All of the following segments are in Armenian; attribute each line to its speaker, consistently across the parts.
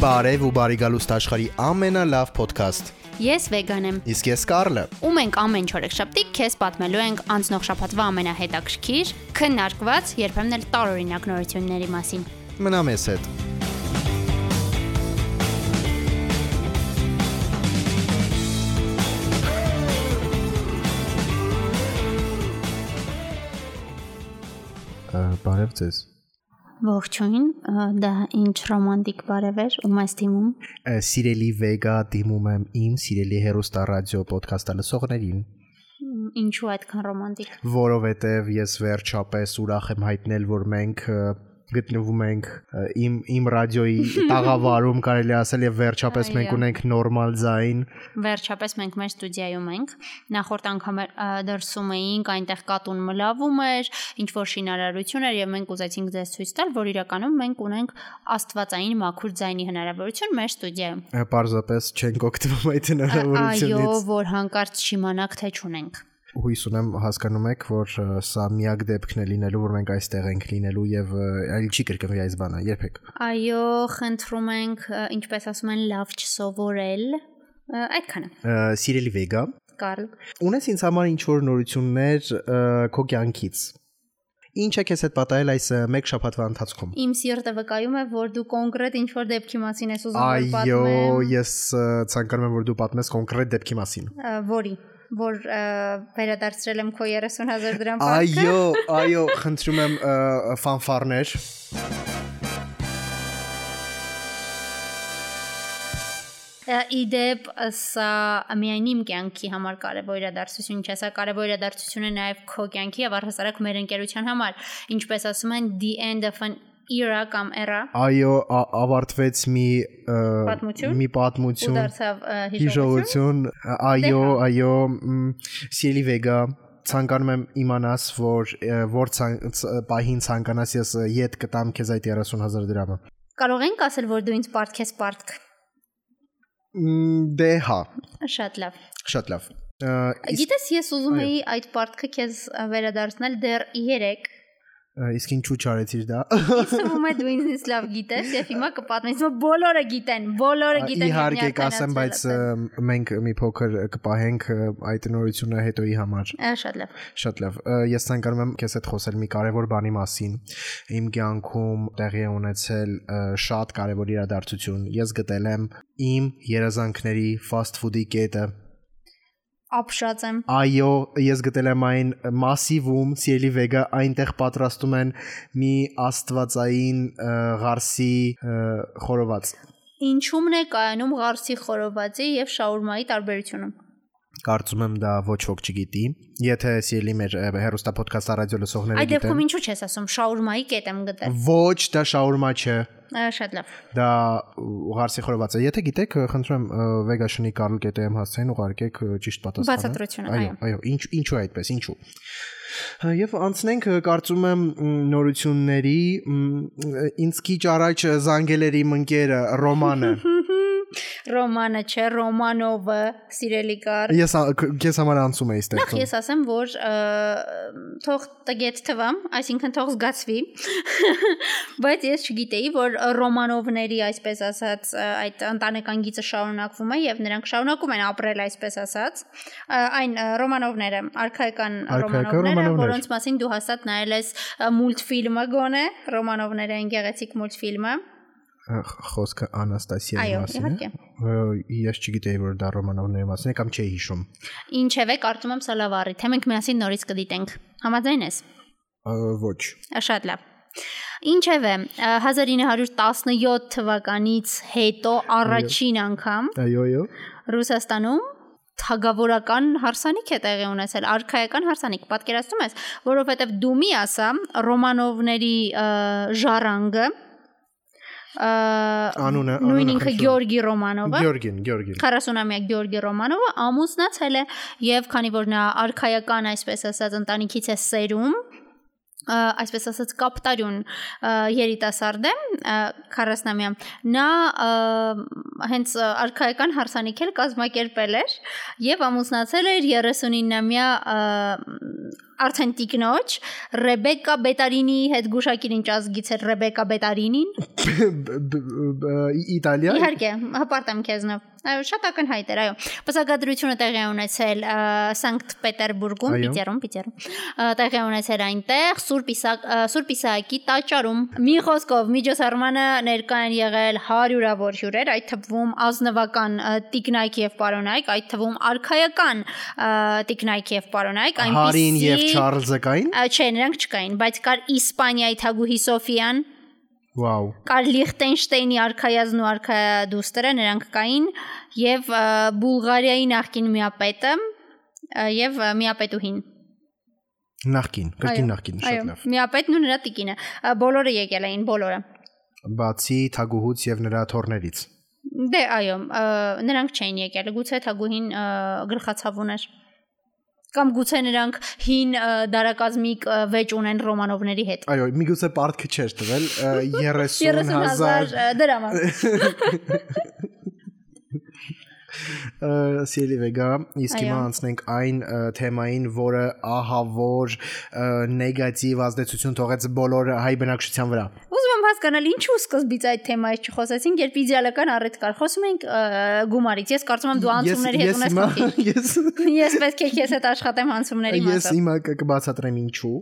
Speaker 1: Բարև ու բարի գալուստ աշխարի ամենալավ podcast։
Speaker 2: Ես վեգան եմ։
Speaker 1: Իսկ ես Կարլը։
Speaker 2: Ու մենք ամեն չորեքշաբթի քեզ պատմելու ենք անցնող շաբաթվա ամենահետաքրքիր, քննարկված, երբեմն էլ տարօրինակ նորությունների մասին։
Speaker 1: Մնա մեզ հետ։ Բարև ձեզ։
Speaker 2: Ողջույն, ա, դա ինչ ռոմանտիկ բարևեր ու մեզ թիմում։
Speaker 1: Սիրելի Վեգա, դիմում եմ իմ սիրելի հերոստա ռադիո podcast-ը լսողներին,
Speaker 2: Մ, Ինչու այդքան ռոմանտիկ։
Speaker 1: որովհետև ես վերջապես ուրախ եմ հայտնել, որ մենք ը, գտնվում ենք ը, իմ իմ ռադիոյի տաղավարում կարելի է ասել եւ վերջապես մենք
Speaker 2: Այո։
Speaker 1: ունենք նորմալ ձայն
Speaker 2: Վերջապես մենք մեր ստուդիայում ենք։ Նախորդ անգամ էր, ա, դրսում էինք, այնտեղ կատուն մլավում էր, ինչ որ շինարարություն էր եւ մենք ուզեցինք ձեզ ցույց տալ, որ իրականում մենք ունենք աստվածային մաքուր ձայնի հնարավորություն մեր ստուդիայում։
Speaker 1: ը, պարզապես չենք օգտվում այդ
Speaker 2: Ա- Այո,
Speaker 1: հնարավորությունից
Speaker 2: որ հանկարծ շիմանակ թե չունենք։
Speaker 1: հույս ունեմ հասկանում եք որ ը, սա միակ դեպքն է լինելու որ մենք այստեղ ենք լինելու եւ ը, այլ չի կրկնվի այս բանը երբեք
Speaker 2: Այո, խնդրում ենք, ը, ինչպես ասում են, լավ չսովորել։ Ա, Այդքանը։
Speaker 1: Ը, սիրելի վեգա
Speaker 2: Կարլ։
Speaker 1: ունես ինձ համար ինչ որ նորություններ ը, քո կյանքից ինչ է քեզ հետ պատահել այս ը, մեկ շաբաթվա ընթացքում
Speaker 2: Իմ սիրտը վկայում է, որ դու կոնկրետ ինչ որ դեպքի մասին ես ուզում որ
Speaker 1: Այո,
Speaker 2: պատմեմ։
Speaker 1: ես ը, ցանկանում եմ որ դու պատմես կոնկրետ դեպքի մասին։
Speaker 2: ը, Որի, որ ը, վերադարձրել եմ քո 30000 դրամ փակը։
Speaker 1: Այո, այո, խնդրում եմ ը, ը, ֆանֆարներ։
Speaker 2: Ա, Իդեպ սա միայն իմ կյանքի համար կարևոր իրադարձություն չէ, սա կարևոր իրադարձություն է նաև քո կյանքի եւ առհասարակ մեր ընկերության համար, ինչպես ասում են the end of an era կամ era
Speaker 1: Այո, ա- ավարտվեց մի ը,
Speaker 2: Պատմություն։
Speaker 1: մի
Speaker 2: ու
Speaker 1: պատմություն,
Speaker 2: դարձավ ա, հիշողություն։
Speaker 1: հիշողություն։ ա- Այո,
Speaker 2: Դե հա։
Speaker 1: այո, մ, Սիրելի Վեգա, ցանկանում եմ իմանաս, որ ը, որ ցան- ց- պահին ցանկանաս ես ը, ետ կտամ քեզ այդ 30000 դրամը։
Speaker 2: Կարող ենք ասել, որ դու ինձ պարտքես պարտք։
Speaker 1: Մ, Դե հա,
Speaker 2: Շատ լավ։
Speaker 1: շատ լավ։ Ը, իսկ-
Speaker 2: Գիտես, ես ուզում
Speaker 1: Այո։
Speaker 2: էի այդ պարտքը քեզ ա, վերադարձնել դեռ 3։
Speaker 1: ը, Իսկ ինչու չարեցիր դա։
Speaker 2: Թվում է դու ինձ լավ գիտես եւ հիմա կպատմես, որ բոլորը գիտեն, բոլորը գիտեն։ եւ
Speaker 1: Իհարկե
Speaker 2: միայն
Speaker 1: կասեմ,
Speaker 2: հայտնացրել
Speaker 1: բայց
Speaker 2: ասեմ։
Speaker 1: ը, մենք մի փոքր կպահենք ը, այդ նորությունը հետոյի համար։
Speaker 2: Ա, Շատ լավ։
Speaker 1: Շատ լավ։ Ա, Ես ցանկանում եմ քեզ հետ խոսել մի կարևոր բանի մասին։ Իմ կյանքում տեղի է ունեցել ա, շատ կարևոր իրադարձություն։ Ես գտել եմ իմ երազանքների fast food-ի կետը։
Speaker 2: Ապշած եմ։
Speaker 1: Այո, ես գտել եմ այն massive-ում, Սիելի Վեգա այնտեղ պատրաստում են մի աստվածային ա, ղարսի ա, խորոված։
Speaker 2: Ինչումն է կայանում ղարսի խորովածի եւ շաուրմայի տարբերությունը։
Speaker 1: Կարծում եմ դա ոչ ոք չգիտի։ Եթե սիրելի մեր հերոստա ոդքասթ ռադիո լսողները
Speaker 2: Այդ
Speaker 1: գիտեն։
Speaker 2: դեպքում ինչու՞ չես ասում շաուրմայի կետ եմ գտել։
Speaker 1: Ոչ, դա շաուրմա չէ։
Speaker 2: Ա, Շատ լավ։
Speaker 1: Դա ուղարսի խորոված է։ Եթե գիտեք, խնդրում եմ ը, Vegashini Karl.am հասցեին ուղարկեք ը, ճիշտ պատասխանը։
Speaker 2: Բացատրությունը,
Speaker 1: Այո, այո, ինչ ինչու է այդպես, ինչու։ Ա, Եվ անցնենք ը, կարծում եմ մ, նորությունների մ, ը, ինձ քիչ առաջ ը, զանգելերի իմ ընկերը Ռոմանը։
Speaker 2: Ռոմանը չէ, Ռոմանովը, սիրելի կար։
Speaker 1: Ես ա- ք- քեզ համար անցում էի
Speaker 2: Նախ
Speaker 1: ստեղծում։
Speaker 2: ես ասեմ, որ ը, թող տգետ թվամ, այսինքն թող զգացվի։ Բայց ես չգիտեի, որ Ռոմանովների, այսպես ասած, ը, այդ ընտանեկան գիծը շարունակվում է եւ նրանք շարունակում են ապրել, այսպես ասած։ Ա, Այն ը, Ռոմանովները, արխայական
Speaker 1: Արքայական
Speaker 2: Ռոմանովները,
Speaker 1: Ռոմանովներ։
Speaker 2: որոնց մասին դու հաստատ նայել ես ը, մուլտֆիլմը գոնե, Ռոմանովները այն գեղեցիկ մուլտֆիլմը։
Speaker 1: Ա, խ- Խոսքը Անաստասիայի
Speaker 2: Այո,
Speaker 1: մասին է։
Speaker 2: իհարկե։
Speaker 1: Ա, Ես չգիտեի, որ դա Ռոմանովների մասին է կամ չէի հիշում։
Speaker 2: Ինչևէ, կարծում եմ սա լավ առիթ է, մենք միասին նորից կդիտենք։ Համաձայն ես։
Speaker 1: Ա, Ոչ։
Speaker 2: Ա, Շատ լավ։ Ինչևէ, ա, 1917 թվականից հետո առաջին անգամ
Speaker 1: Այո, այո։
Speaker 2: Ռուսաստանում թագավորական հարսանիք է տեղի ունեցել, արխայական հարսանիք, պատկերացնում ես, որովհետև դումի ասա Ռոմանովների ա, ժառանգը ա,
Speaker 1: Անունը- անունը
Speaker 2: նույն ինքը
Speaker 1: խնդրում։
Speaker 2: Գյորգի Ռոմանովը
Speaker 1: Գյորգին, Գյորգին։
Speaker 2: 40-ամյա Գյորգի Ռոմանովը ամուսնացել է եւ քանի որ նա արխայական, այսպես ասած, ընտանիքից է սերում, ա, այսպես ասած, կապտարյուն ա, երիտասարդ է, ա, 40-ամյա, նա ա, հենց ա, արխայական հարսանիք էլ կազմակերպել էր եւ ամուսնացել էր 39-ամյա ա, արդեն տիկնոջ Ռեբեկա Բետարինիի հետ գուշակին ինչ ազգից է Ռեբեկա Բետարինին։
Speaker 1: Իտալիա։
Speaker 2: Իհարկե, հպարտեմ քեզնով։ Այո, շատ ակնհայտ էր, այո։ Բացակայությունը տեղի է ունեցել ա, Սանկտ Պետերբուրգում,
Speaker 1: Այո։
Speaker 2: Պիտերում, Պիտերում։ ա, Տեղի է ունեցել այնտեղ Սուրբ Իսակ ա, Սուրբ Իսահակի տաճարում։ Մի խոսքով միջոցառմանը ներկա են եղել հարյուրավոր հյուրեր, այդ թվում ազնվական ա, տիկնայք եւ պարոնայք, այդ թվում արխայական ա, տիկնայք եւ պարոնայք,
Speaker 1: Հարին եւ Չարլզը կային։
Speaker 2: Ա, Չէ, նրանք չկային, բայց կար Իսպանիայի թագուհի Սոֆիան,
Speaker 1: Վաու։
Speaker 2: կար Լիխտենշտեյնի արքայազն ու արքայադուստերը, նրանք կային, եւ ա, Բուլղարիայի նախկին միապետը ա, եւ ա, միապետուհին։
Speaker 1: Նախքին, կրկին նախքին շատ լավ։
Speaker 2: միապետն ու նրա տիկինը։ Ա, Բոլորը եկել էին, բոլորը։
Speaker 1: Բացի Թագուհուց եւ նրա թորներից։
Speaker 2: Դե այո, ա, նրանք չէին եկել, գուցե թագուհին ա, գրխացավ ուներ։ Կամ գուցե նրանք հին ա, դարակազմիկ ա, վեճ ունեն Ռոմանովների հետ։
Speaker 1: Այո, միգուցե պարտքը չէր տվել 30000
Speaker 2: 30000 դրամ։
Speaker 1: Սիրելի Վեգա, իսկ
Speaker 2: Այո։
Speaker 1: հիմա անցնենք այն ը, թեմային, որը ահա որ ը, նեգատիվ ազդեցություն թողեց բոլոր հայ բնակչության վրա։
Speaker 2: Ուզում եմ հասկանալ ինչու սկզբից այդ թեմայից չխոսեցինք, երբ իդեալական առիթ կար։ Խոսում ենք ը, գումարից։ Ես կարծում եմ դու անցումների հետ ունես
Speaker 1: հիմա-
Speaker 2: խնդիր։
Speaker 1: ես
Speaker 2: Ես պետք է քեզ հետ աշխատեմ անցումների
Speaker 1: ես
Speaker 2: մասով։
Speaker 1: հիմա կ- կբացատրեմ ինչու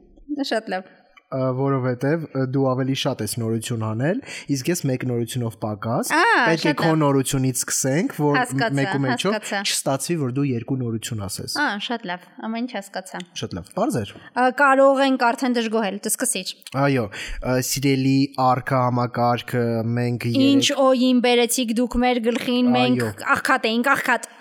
Speaker 2: Շատ լավ։
Speaker 1: ը, որովհետև ը, դու ավելի շատ ես նորություն անել, իսկ ես մեկ նորությունով պակաս։
Speaker 2: Ա,
Speaker 1: Պետք է
Speaker 2: շատ
Speaker 1: քո
Speaker 2: լավ։
Speaker 1: նորությունից սկսենք, որ
Speaker 2: Հասկացա,
Speaker 1: մեկու մեջով
Speaker 2: հասկացա։
Speaker 1: չստացվի, որ դու երկու նորություն ասես։
Speaker 2: Ա, շատ լավ։ Ամեն ինչ հասկացա։
Speaker 1: Շատ լավ։ Բարձր էր։
Speaker 2: Ա, Կարող ենք արդեն դժգոհել, դե դսկսիչ։
Speaker 1: Այո, ը, սիրելի արքա համակարգը մենք
Speaker 2: Ինչ
Speaker 1: երեք
Speaker 2: օին բերեցիք դուք մեր գլխին,
Speaker 1: Այո։
Speaker 2: մենք աղքատ էինք, աղքատ։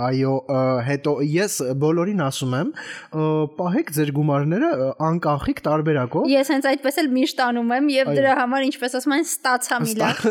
Speaker 1: այո ը, հետո ես բոլորին ասում եմ ը, պահեք ձեր գումարները ը, անկախիկ տարբերակով
Speaker 2: Ես հենց այդպես էլ միշտ անում եմ եւ
Speaker 1: Այո։
Speaker 2: դրա համար ինչպես ասում են, ստացա մի լավ։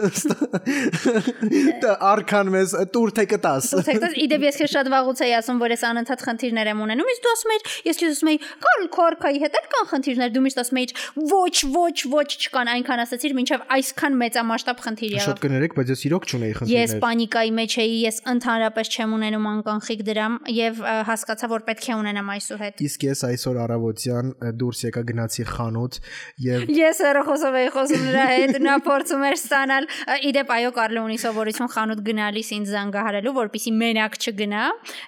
Speaker 1: Դա արքան մեզ տուր թե կտաս
Speaker 2: Սեքտաս իդեպ ես քեզ շատ վաղուց էի ասում, որ ես անընդհատ խնդիրներ եմ ունենում։ Իսկ դու ասում ես, ես քեզ ասում էի, Կարլ Քորքայի հետ էլ կան խնդիրներ, դու միշտ ասում ես, ոչ, ոչ, ոչ չկան, այնքան ասացիր, մինչև այսքան մեծամասշտաբ խնդիր
Speaker 1: Շատ
Speaker 2: եղավ։
Speaker 1: կներեք, բայց ես իրոք չունեի
Speaker 2: Ես
Speaker 1: խնդիրներ։
Speaker 2: պանիկայի մեջ էի, ես ընդհանրապես չեմ ունենում անկանխիկ դրամ եւ ա, հասկացա, որ պետք է ունենամ այսու հետ։
Speaker 1: Իսկ ես այսօր առավոտյան ը, դուրս եկա գնացի խանութ եւ
Speaker 2: Ես հերոսով էի խոսում նրա հետ, նա փորձում էր ստանալ։ ա, Իդեպ այո Կարլը ունի սովորություն խանութ գնալիս ինձ զանգահարելու, որpիսի մենակ չգնա,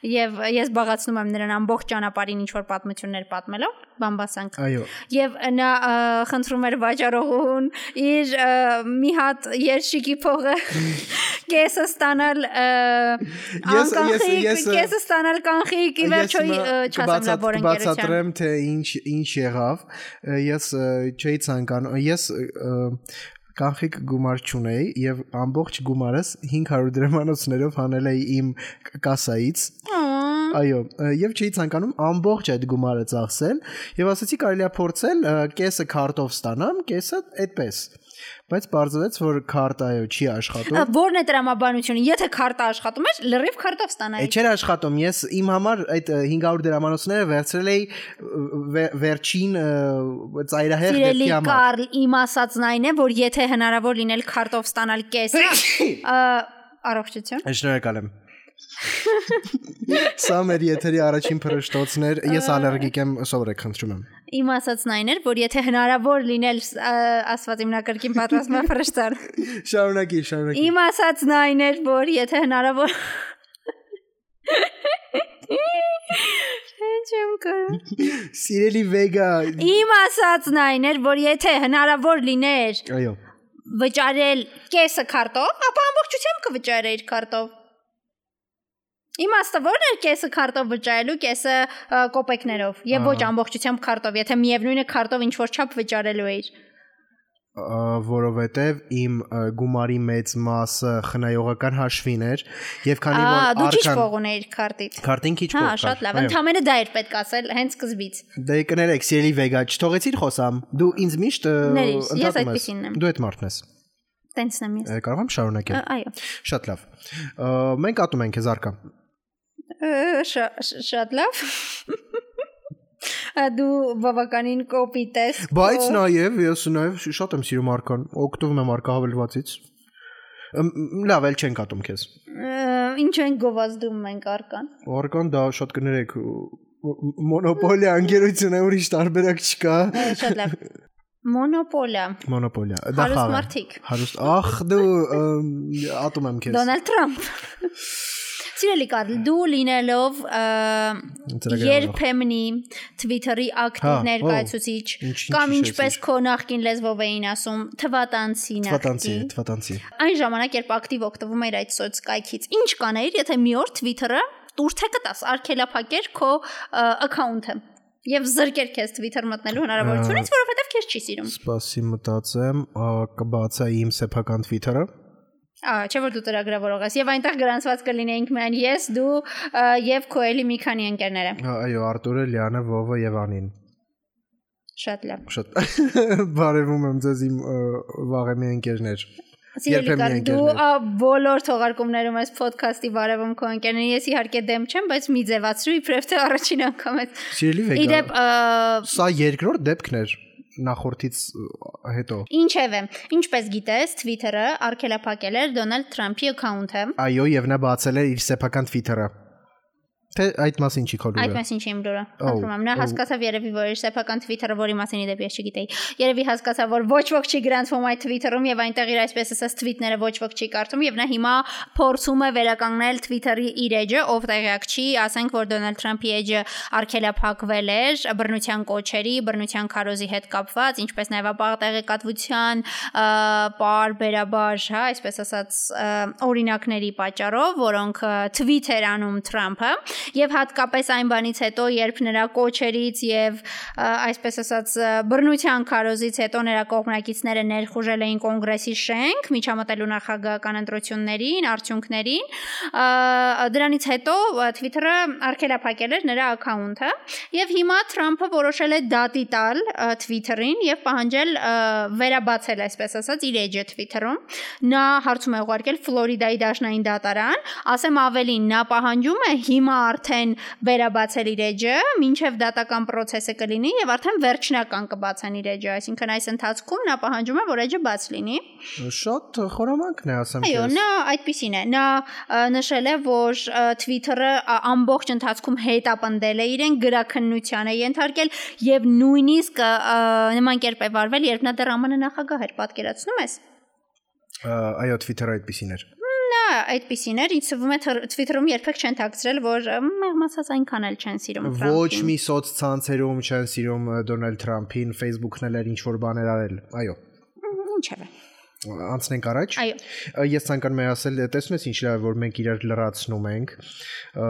Speaker 2: եւ ես բաղացնում եմ նրան ամբողջ ճանապարհին ինչ որ պատմություններ պատմելով, բամբասանք։
Speaker 1: այո
Speaker 2: Եվ նա ա, խնդրում էր վաճառողուն իր ա, մի հատ երշիկի փողը կեսը ստանալ ա,
Speaker 1: ես-
Speaker 2: անկանխիկ,
Speaker 1: ես-
Speaker 2: կեսը ստանալ կանխիկ, ի վերջո ի- ա, չասեմ լավ որ ընկերության։
Speaker 1: բացատրեմ թե ինչ ինչ եղավ Ա, ես ա, չէի ցանկանում ես ա, կանխիկ գումար չունեի եւ ամբողջ գումարս 500 դրամանոցներով հանել էի իմ կ- կասայից
Speaker 2: Ա,
Speaker 1: այո ա, եւ չէի ցանկանում ամբողջ այդ գումարը ծախսել եւ ասացի կարելի է փորձել ա, կեսը քարտով ստանամ կեսը այդպես բայց բարձրացեց որ քարտը այո չի աշխատում
Speaker 2: Ա, Հա, Որն է դրամաբանությունը։ Եթե քարտը աշխատում է, լրիվ քարտով
Speaker 1: Է,
Speaker 2: ստանայի։
Speaker 1: Չէր աշխատում։ Ես իմ համար այդ ը, 500 դրամանոցները վերցրել էի ը, վե- վերջին ը, ծայրահեղ
Speaker 2: Սիրելի
Speaker 1: դեպքի համար։
Speaker 2: Կարլ, իմ ասածն այն է, որ եթե հնարավոր լինել քարտով ստանալ կեսը, ա, առողջություն։
Speaker 1: Շնորհակալ եմ։ Սա մեր եթերի առաջին փրշտոցն էր։ Ես ալերգիկ եմ, սովորեք խնդրում եմ։
Speaker 2: Իմ ասածն այն էր, որ եթե հնարավոր լինել ս- ա, աստված իմ նակրկին պատրաստում է ֆրեշտար։
Speaker 1: Շարունակի, շարունակի։
Speaker 2: Իմ ասածն այն էր, որ եթե հնարավոր Ինչ եմ կարող։
Speaker 1: Սիրելի Վեգա։
Speaker 2: Իմ ասածն այն էր, որ եթե հնարավոր լիներ
Speaker 1: Այո։
Speaker 2: վճարել կեսը քարտով, ապա ամբողջությամբ կվճարեիր քարտով։ Իմաստը ո՞րն էր կեսը քարտով վճարելու, կեսը ա, կոպեկներով եւ ոչ
Speaker 1: Ահա։
Speaker 2: ամբողջությամբ քարտով, եթե միևնույնը քարտով ինչ որ չափ վճարելու էիր։
Speaker 1: ը, որովհետև իմ ը, գումարի մեծ մասը խնայողական հաշվին էր եւ քանի
Speaker 2: Ահա,
Speaker 1: որ
Speaker 2: դու քիչ
Speaker 1: արքան
Speaker 2: փող ունեիր քարտից։
Speaker 1: քարտին քիչ
Speaker 2: Հա,
Speaker 1: փող կար,
Speaker 2: շատ լավ։
Speaker 1: այո։
Speaker 2: Ընդամենը դա էր պետք ասել հենց սկզբից։
Speaker 1: Դե կներեք, Սիրելի Վեգա, չթողեցիր խոսամ։ Դու ինձ միշտ ը, ընդհատում
Speaker 2: Ներիր, ես
Speaker 1: ես։
Speaker 2: այդպիսինն եմ։
Speaker 1: Դու այդ մարդն ես։
Speaker 2: Տենցն եմ ես։
Speaker 1: Ա, Կարող եմ շարունակել։
Speaker 2: Ա, Այո։
Speaker 1: Շատ լավ։ Ա, Մենք ատում ենք քեզ արկա։
Speaker 2: Ա, շա- շ- Շատ լավ։ Ա, Դու բավականին կոպիտ ես։
Speaker 1: Բայց
Speaker 2: Ո-
Speaker 1: նաև ես նաև շատ եմ սիրում արկան, օգտվում եմ արկա հավելվածից։ Ըմ, Լավ, էլ չենք ատում քեզ։
Speaker 2: Ա, Ինչ են գովազդում մենք արկան։
Speaker 1: Արկան դա շատ կներեք ը, մոնոպոլիա անգերությունը ուրիշ տարբերակ չկա։
Speaker 2: Այո, Շատ լավ։ Մոնոպոլիա։
Speaker 1: Մոնոպոլիա, դա
Speaker 2: Հարուստ
Speaker 1: խաղ է։
Speaker 2: մարդիկ։
Speaker 1: Հարուստ։ Ախ, դու ըմ, ատում եմ քեզ։
Speaker 2: Դոնալդ Թրամփ։ Սիրելի Կարլ, դու լինելով ը,
Speaker 1: Ծրագրավորող։
Speaker 2: երբեմնի Twitter-ի
Speaker 1: Հա,
Speaker 2: ակտիվ
Speaker 1: օ,
Speaker 2: ներկայացուցիչ
Speaker 1: ինչ- ինչ
Speaker 2: կամ
Speaker 1: հիշեցիր։
Speaker 2: ինչպես քո նախկին լեզվով էին ասում, թվատանցի
Speaker 1: Թվատանցի,
Speaker 2: նախկին։
Speaker 1: թվատանցի։
Speaker 2: Այն ժամանակ, երբ ակտիվ օգտվում էր այդ սոցկայքից, ինչ կանեիր, եթե մի օր Twitter-ը տուր թե կտաս, արգելափակեր քո ը, account-ը եւ զրկեր քեզ Twitter
Speaker 1: Հա։
Speaker 2: մտնելու հնարավորությունից, որովհետեւ քեզ չի սիրում։
Speaker 1: Սպասի մտածեմ, ա, կբացայի իմ սեփական Twitter-ը։
Speaker 2: Ա, չէ՞ որ դու ծրագրավորող ես եւ այնտեղ գրանցված կլինեինք միայն ես, դու ը, եւ քո էլի մի քանի ընկերները։
Speaker 1: Ա, Այո, Արտուրը, Լիանը, Վովը եւ Անին։
Speaker 2: Շատ լավ։
Speaker 1: Շատ բարևում եմ ձեզ իմ ա, վաղեմի ընկերներ։
Speaker 2: Սիրելի
Speaker 1: Երբեմն
Speaker 2: կար
Speaker 1: ընկերներ։
Speaker 2: դու ա, բոլոր թողարկումներում ես ոդքասթի բարևում քո ընկերներին։ Ես իհարկե դեմ չեմ, բայց մի ձևացրու, իբրև թե առաջին անգամ է։
Speaker 1: Սիրելի վեգա։
Speaker 2: Իդեպ ա,
Speaker 1: Սա երկրորդ դեպքն էր նախորդից ա, հետո։
Speaker 2: Ինչևէ, ինչպես գիտես, Twitter-ը արգելափակել էր Դոնալդ Թրամփի account-ը։
Speaker 1: Այո, եւ նա բացել էր իր սեփական Twitter-ը։ Թե այդ մասին չի
Speaker 2: Այդ
Speaker 1: քոլուրը։
Speaker 2: մասին չեմ լուրը։
Speaker 1: Օ,
Speaker 2: Խնդրում եմ, նա
Speaker 1: օ։
Speaker 2: հասկացավ երևի, որ իր սեփական Twitter-ը, որի մասին իդեպ ես չգիտեի, երևի հասկացավ, որ ոչ ոք չի գրանցվում այդ Twitter-ում եւ այնտեղ իր այսպես ասած tweet-ները ոչ ոք չի կարդում եւ նա հիմա փորձում է վերականգնել Twitter-ի իր edge-ը, ով տեղյակ չի, ասենք որ Դոնալդ Թրամփի edge-ը արգելափակվել էր բռնության կոչերի, բռնության քարոզի հետ կապված, ինչպես նաեւ ապա տեղեկատվության ը, պարբերաբար, հա, այսպես ասած, ը, օրինակների պատճառով, որոնք ը, tweet էր անում Թրամփը եւ հատկապես այն բանից հետո, երբ նրա կոչերից եւ ը, այսպես ասած ը, բռնության քարոզից հետո նրա կողմնակիցները ներխուժել էին կոնգրեսի շենք, միջամտելու նախագահական ընտրություններին, արդյունքներին, ը, դրանից հետո ը, Twitter-ը արգելափակել էր նրա account-ը եւ հիմա Թրամփը որոշել է դատի տալ ը, Twitter-ին եւ պահանջել ը, վերաբացել, այսպես ասած, իր edge-ը Twitter-ում։ Նա հարցում է ուղարկել Ֆլորիդայի դաշնային դատարան, ասեմ ավելին նա պահանջում է հիմա արդեն վերաբացել իր էջը, ինչև դատական process-ը կլինի եւ արդեն վերջնական կբացեն իր էջը, այսինքն այս ընթացքում նա պահանջում է որ էջը բաց լինի։
Speaker 1: Շատ խորամանկն է ասեմ
Speaker 2: Այո,
Speaker 1: քեզ։
Speaker 2: նա այդպեսին է։ Նա ը, նշել է, որ ը, Twitter-ը ա, ամբողջ ընթացքում հետապնդել է իրեն գրաքննության է ենթարկել եւ նույնիսկ ը, ը, նման կերպ է վարվել, երբ նա դեռ ԱՄՆ նախագահ էր, պատկերացնում ես։
Speaker 1: Ա, Այո, Twitter-ը այդպեսին էր։
Speaker 2: Նա այդպեսին էր, ինձ թվում է թր- Twitter-ում երբեք չեն ཐակցրել, որ ը, մեղմ ասած այնքան էլ չեն սիրում
Speaker 1: Ոչ
Speaker 2: Թրամփին։
Speaker 1: մի սոցցանցերում չեն սիրում ա, Դոնալդ Թրամփին, Facebook-ն էլ էր ինչ որ բաներ արել։ Այո,
Speaker 2: Ինչևէ։
Speaker 1: անցնենք առաջ։
Speaker 2: Այո,
Speaker 1: Ա, Ես ցանկանում եմ ասել, տեսնես ինչ լավ է, որ մենք իրար լրացնում ենք։ Ա,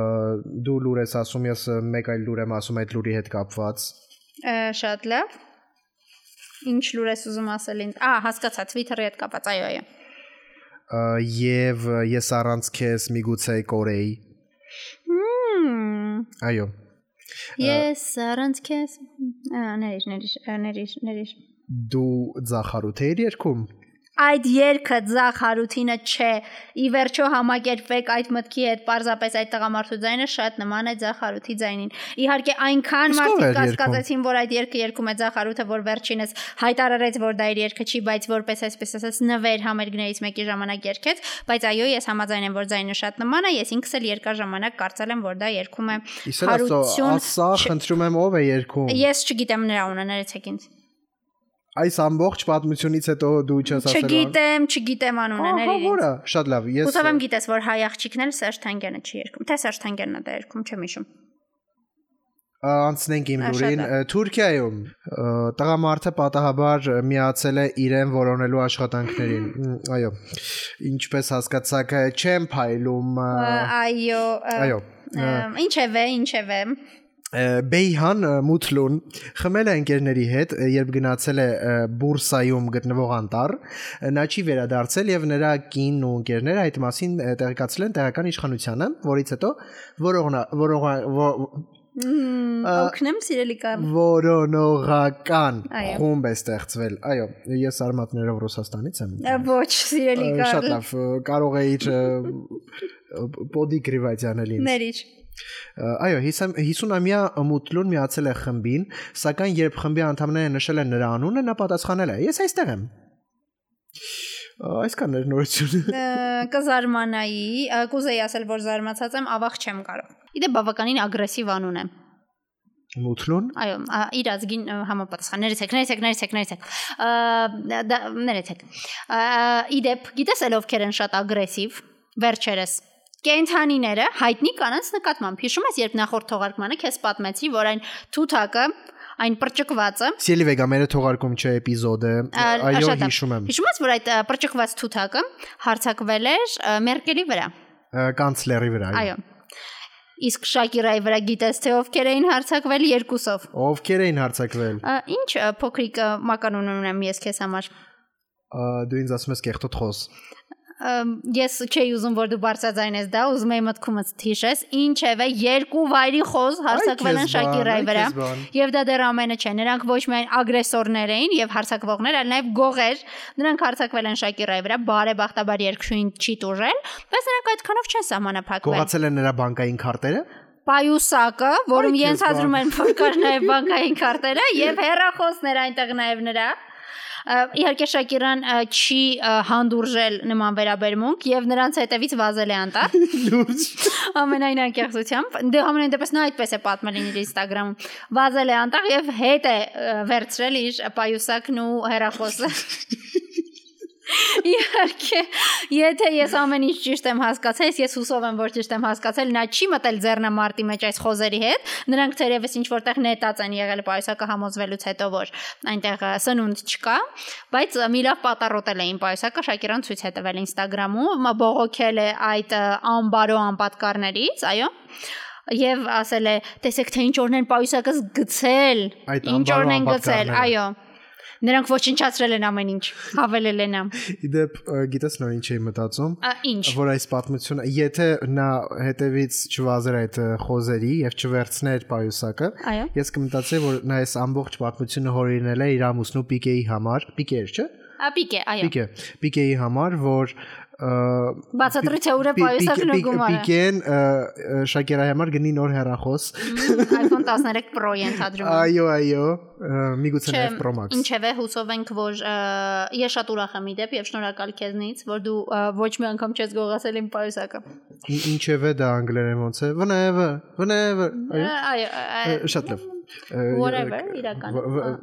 Speaker 1: Դու լուր ես ասում, ես ա, մեկ այլ լուր եմ ասում այդ լուրի հետ կապված։
Speaker 2: ը, շատ լավ։ Ինչ լուր ես ուզում ասել ինձ։ Ա, հասկացա, Twitter-ի հետ կապած, այո, այո։
Speaker 1: Ա, Եվ ա, ես առանց քեզ միգուցե Կորեի։
Speaker 2: Հմ,
Speaker 1: Այո։
Speaker 2: Ես առանց քեզ, ա, ներիշ, ներիշ, ա, ներիշ, ներիշ։
Speaker 1: Դու Զախարութ էիր երկում։
Speaker 2: Այդ երկը ցախ հարութինը չէ։ Ի վերջո համակերպեք այդ մտքի հետ, parzapes այդ տղամարդու ձայնը շատ նման է ցախ հարութի ձայնին։ Իհարկե այնքան
Speaker 1: Իսկ ով էր
Speaker 2: մարդիկ
Speaker 1: երգում?
Speaker 2: կասկածեցին, որ այդ երկը երգում է ցախ հարութը, որ վերջինս հայտարարեց, որ դա իր երկը չի, բայց որպես այսպես ասած նվեր համերգներից մեկի ժամանակ երգեց, բայց այո, ես համաձայն եմ, որ ձայնը շատ նման է, ես ինքս էլ երկար ժամանակ կարծել եմ, որ դա երգում է
Speaker 1: Իսել ասա, ասա,
Speaker 2: չէ։
Speaker 1: խնդրում եմ ով է երկում։
Speaker 2: Ես չգիտեմ նրա ունը, ներեցեք ինձ։
Speaker 1: Այս ամբողջ պատմությունից հետո դու չես ասել։
Speaker 2: Չգիտեմ, չգիտեմ անունը,
Speaker 1: Ահա
Speaker 2: ներեցեք։
Speaker 1: որը, շատ լավ։ Ես
Speaker 2: Ուտով եմ գիտես, որ հայ աղջիկն էլ Սերժ Թանգյանը չի երգում։ Թե Սերժ Թանգյանն է դա երգում, չեմ հիշում։
Speaker 1: ա, անցնենք իմ
Speaker 2: Ա, շատ
Speaker 1: լուրին
Speaker 2: լավ։
Speaker 1: ա, Թուրքիայում ա, տղամարդը պատահաբար միացել է իրեն որոնելու աշխատանքներին։ Մ, Այո։ Ինչպես հասկացաք, ա, չեմ փայլում։ ա,
Speaker 2: Այո։
Speaker 1: Այո։ ա,
Speaker 2: Ինչևէ, ինչևէ։
Speaker 1: Ա, Բեյհան ա, Մութլուն խմել է ընկերների հետ, ա, երբ գնացել է ա, բուրսայում գտնվող անտառ, ա, նա չի վերադարձել եւ նրա կին ու ընկերները այդ մասին ա, տեղեկացել են տեղական իշխանությանը, որից հետո որողնա որողա
Speaker 2: Մմ,
Speaker 1: Ա,
Speaker 2: Օգնեմ, սիրելի կամ։
Speaker 1: որոնողական
Speaker 2: Այո։
Speaker 1: խումբ է ստեղծվել։ Այո, ես արմատներով Ռուսաստանից եմ։
Speaker 2: Ոչ, սիրելի
Speaker 1: Ա, Շատ
Speaker 2: կամ։
Speaker 1: լավ, ա, կարող էիր պոդի գրիվացիանել ինձ։
Speaker 2: Ներիջ։
Speaker 1: Ա, Այո, 50-ամյա Մուտլուն միացել է խմբին, սակայն երբ խմբի անդամները նշել են նրա անունը, նա պատասխանել է. Ես այստեղ եմ։ Ա, Այսքան էր նորությունը։
Speaker 2: Ա, Կզարմանայի, ա, կուզեի ասել, որ զարմացած եմ, ավաղ չեմ կարող։ Իդե բավականին ագրեսիվ անուն է։
Speaker 1: Մութլուն։
Speaker 2: Այո, ա, իր ազգին ա, համապատասխան։ Ներեցեք, ներեցեք, ներեցեք, ներեցեք։ Ա, դա- դա- Ներեցեք։ Ա, Իդեպ, գիտես ել ովքեր են շատ ագրեսիվ վերջերս։ Կենթանիները հայտնի կանանց նկատմամբ։ Հիշում ես, երբ նախորդ թողարկմանը քեզ պատմեցի, որ այն թութակը, այն պրճկվածը
Speaker 1: Սիելի վեգա մեր թողարկում չէ էպիզոդը։
Speaker 2: Ա-
Speaker 1: Այո,
Speaker 2: աշատա։
Speaker 1: հիշում եմ։
Speaker 2: Հիշում ես, որ այդ ա, պրճկված թութակը հարցակվել էր ա, Մերկելի վրա։
Speaker 1: Ա, Կանցլերի վրա։
Speaker 2: Այո։ Իսկ Շակիրայի վրա գիտես թե ովքեր էին հարցակվել երկուսով։
Speaker 1: Ովքեր էին հարցակվել։
Speaker 2: Ա, Ինչ ա, փոքրիկ ա, մականուն ունեմ ես քեզ համար։
Speaker 1: Ա, Դու ինձ ասում ես կեղտոտ խոս։
Speaker 2: Ա, Ես չէի ուզում որ դու բարձրացնես դա, ուզում եմ մտքումս թիշես, ինչևէ երկու վայրի խոզ հարցակվել
Speaker 1: Այ
Speaker 2: են
Speaker 1: քեզ բան,
Speaker 2: Շակիրայի
Speaker 1: այ
Speaker 2: վրա։
Speaker 1: քեզ բան։
Speaker 2: Եվ դա դեռ ամենը չէ, նրանք ոչ միայն ագրեսորներ էին եւ հարցակվողներ, այլ նաեւ գողեր։ Նրանք հարցակվել են Շակիրայի վրա, բարեբախտաբար երկշույն չի տուժել, բայց նրանք այդքանով չեն սահմանափակվել։
Speaker 1: Գողացել են նրա բանկային քարտերը։
Speaker 2: Պայուսակը, որում
Speaker 1: Այ քեզ
Speaker 2: ենթադրում
Speaker 1: բան։
Speaker 2: են որ կար նաև բանկային քարտերը եւ հերախոսներ այնտեղ նաև նրա Ա, Իհարկե Շակիրան ա, չի ա, հանդուրժել նման վերաբերմունք եւ նրանց հետևից վազել է անտառ
Speaker 1: Լուրջ։
Speaker 2: ամենայն անկեղծությամբ դե ամենայն դեպս նա այդպես է պատմել իր Instagram-ում վազել է անտառ եւ հետ է ա, վերցրել իր պայուսակն ու հերախոսը Իհարկե, եթե ես ամեն ինչ ճիշտ եմ հասկացել, ես- ես հուսով եմ, որ ճիշտ եմ հասկացել, նա չի մտել ձեռնամարտի մեջ այս խոզերի հետ։ Նրանք թերևս ինչ որտեղ նետած են եղել պայուսակը համոզվելուց հետո, որ այնտեղ ա, սնունդ չկա, բայց ա, մի լավ պատառոտել էին պայուսակը, Շակիրան ցույց է տվել Instagram-ում, մա բողոքել է այդ ա, ամբարո անպատկարներից, այո։ Եվ ասել է, տեսեք թե ինչ օրն են պայուսակը գցել,
Speaker 1: Այդ
Speaker 2: ինչ
Speaker 1: ամբարո
Speaker 2: օրն են գցել,
Speaker 1: անպատկարները։
Speaker 2: այո։ Նրանք ոչնչացրել են ամեն ինչ, հավելել են ամ։
Speaker 1: Իդեպ ա, գիտես նոր ինչ էի մտածում։
Speaker 2: Ա, Ինչ։
Speaker 1: որ այս պատմությունը եթե նա հետևից չվազեր այդ ը, խոզերի եւ չվերցներ պայուսակը
Speaker 2: Այո։
Speaker 1: ես կմտածեի որ նա այս ամբողջ պատմությունը հորինել է իր ամուսնու Պիկեի համար Պիկեր չէ
Speaker 2: Ապիկ է, այո։
Speaker 1: Պիկե Պիկեի համար որ ը,
Speaker 2: Բացատրի թե ուր է
Speaker 1: Պի-
Speaker 2: պայուսակն ու
Speaker 1: Պիկ-
Speaker 2: գումարը։
Speaker 1: Պիկեն ը, ը, Շակիրայի համար գնի նոր հեռախոս
Speaker 2: iPhone 13 Pro-ի ընդհանրում։
Speaker 1: այո այո ը, միգուցե նաև Pro Max
Speaker 2: ինչևէ հուսով ենք, որ ա, ես շատ ուրախ եմ իդեպ եւ շնորհակալ քեզնից, որ դու ա, ոչ մի անգամ չես գողացել իմ պայուսակը։
Speaker 1: Ի- ինչևէ դա անգլերեն ոնց է whenever whenever
Speaker 2: Ա,
Speaker 1: այո Ը,
Speaker 2: Այո, ա,
Speaker 1: շատ լավ Ը,
Speaker 2: Whatever,
Speaker 1: ը,
Speaker 2: իրական։
Speaker 1: վ- վ-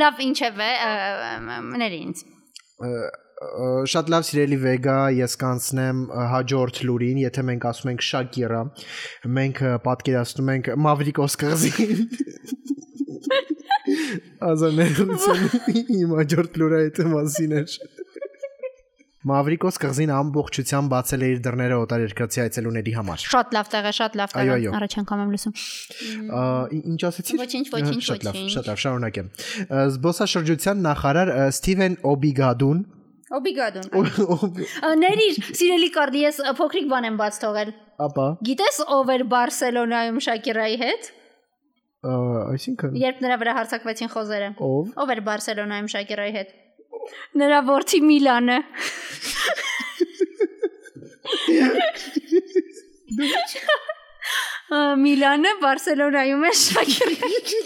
Speaker 2: լավ, ինչևէ, ա, ա, ների ինձ։
Speaker 1: Ա, ա, շատ լավ սիրելի Վեգա, ես կանցնեմ ա, հաջորդ լուրին, եթե մենք ասում ենք Շակիրա, մենք ա, պատկերացնում ենք Մավրիկոս կղզին։ Ազաներություն իմ հաջորդ լուրը այդ մասին էր։ Մավրիկոս կղզին ամբողջությամբ բացել է իր դռները օտար երկրացի այցելուների համար։
Speaker 2: Շատ լավ տեղ է, շատ լավ
Speaker 1: Այո,
Speaker 2: տեղ է։
Speaker 1: այո։
Speaker 2: Առաջ անգամ եմ լսում։
Speaker 1: Ա, ի- Ինչ ասեցի։
Speaker 2: Ոչինչ, ոչինչ,
Speaker 1: Շատ լավ,
Speaker 2: ոչինչ։
Speaker 1: շատ լավ, շարունակեմ։ Ա, Զբոսաշրջության նախարար ա, Սթիվեն Օբիգադուն
Speaker 2: Օբիգադոն։ Ներիր, սիրելի Կարլի, ես ա, փոքրիկ բան եմ բաց թողել։
Speaker 1: ապա
Speaker 2: Գիտես ով էր Բարսելոնայում Շակիրայի հետ,
Speaker 1: ա, այսինքն
Speaker 2: երբ նրա վրա հարցակվեցին խոզերը։
Speaker 1: ով
Speaker 2: Ով էր Բարսելոնայում Շակիրայի հետ։ Նրա ворթի Միլանը։ Ա, Միլանը Բարսելոնայում է Շակիրի։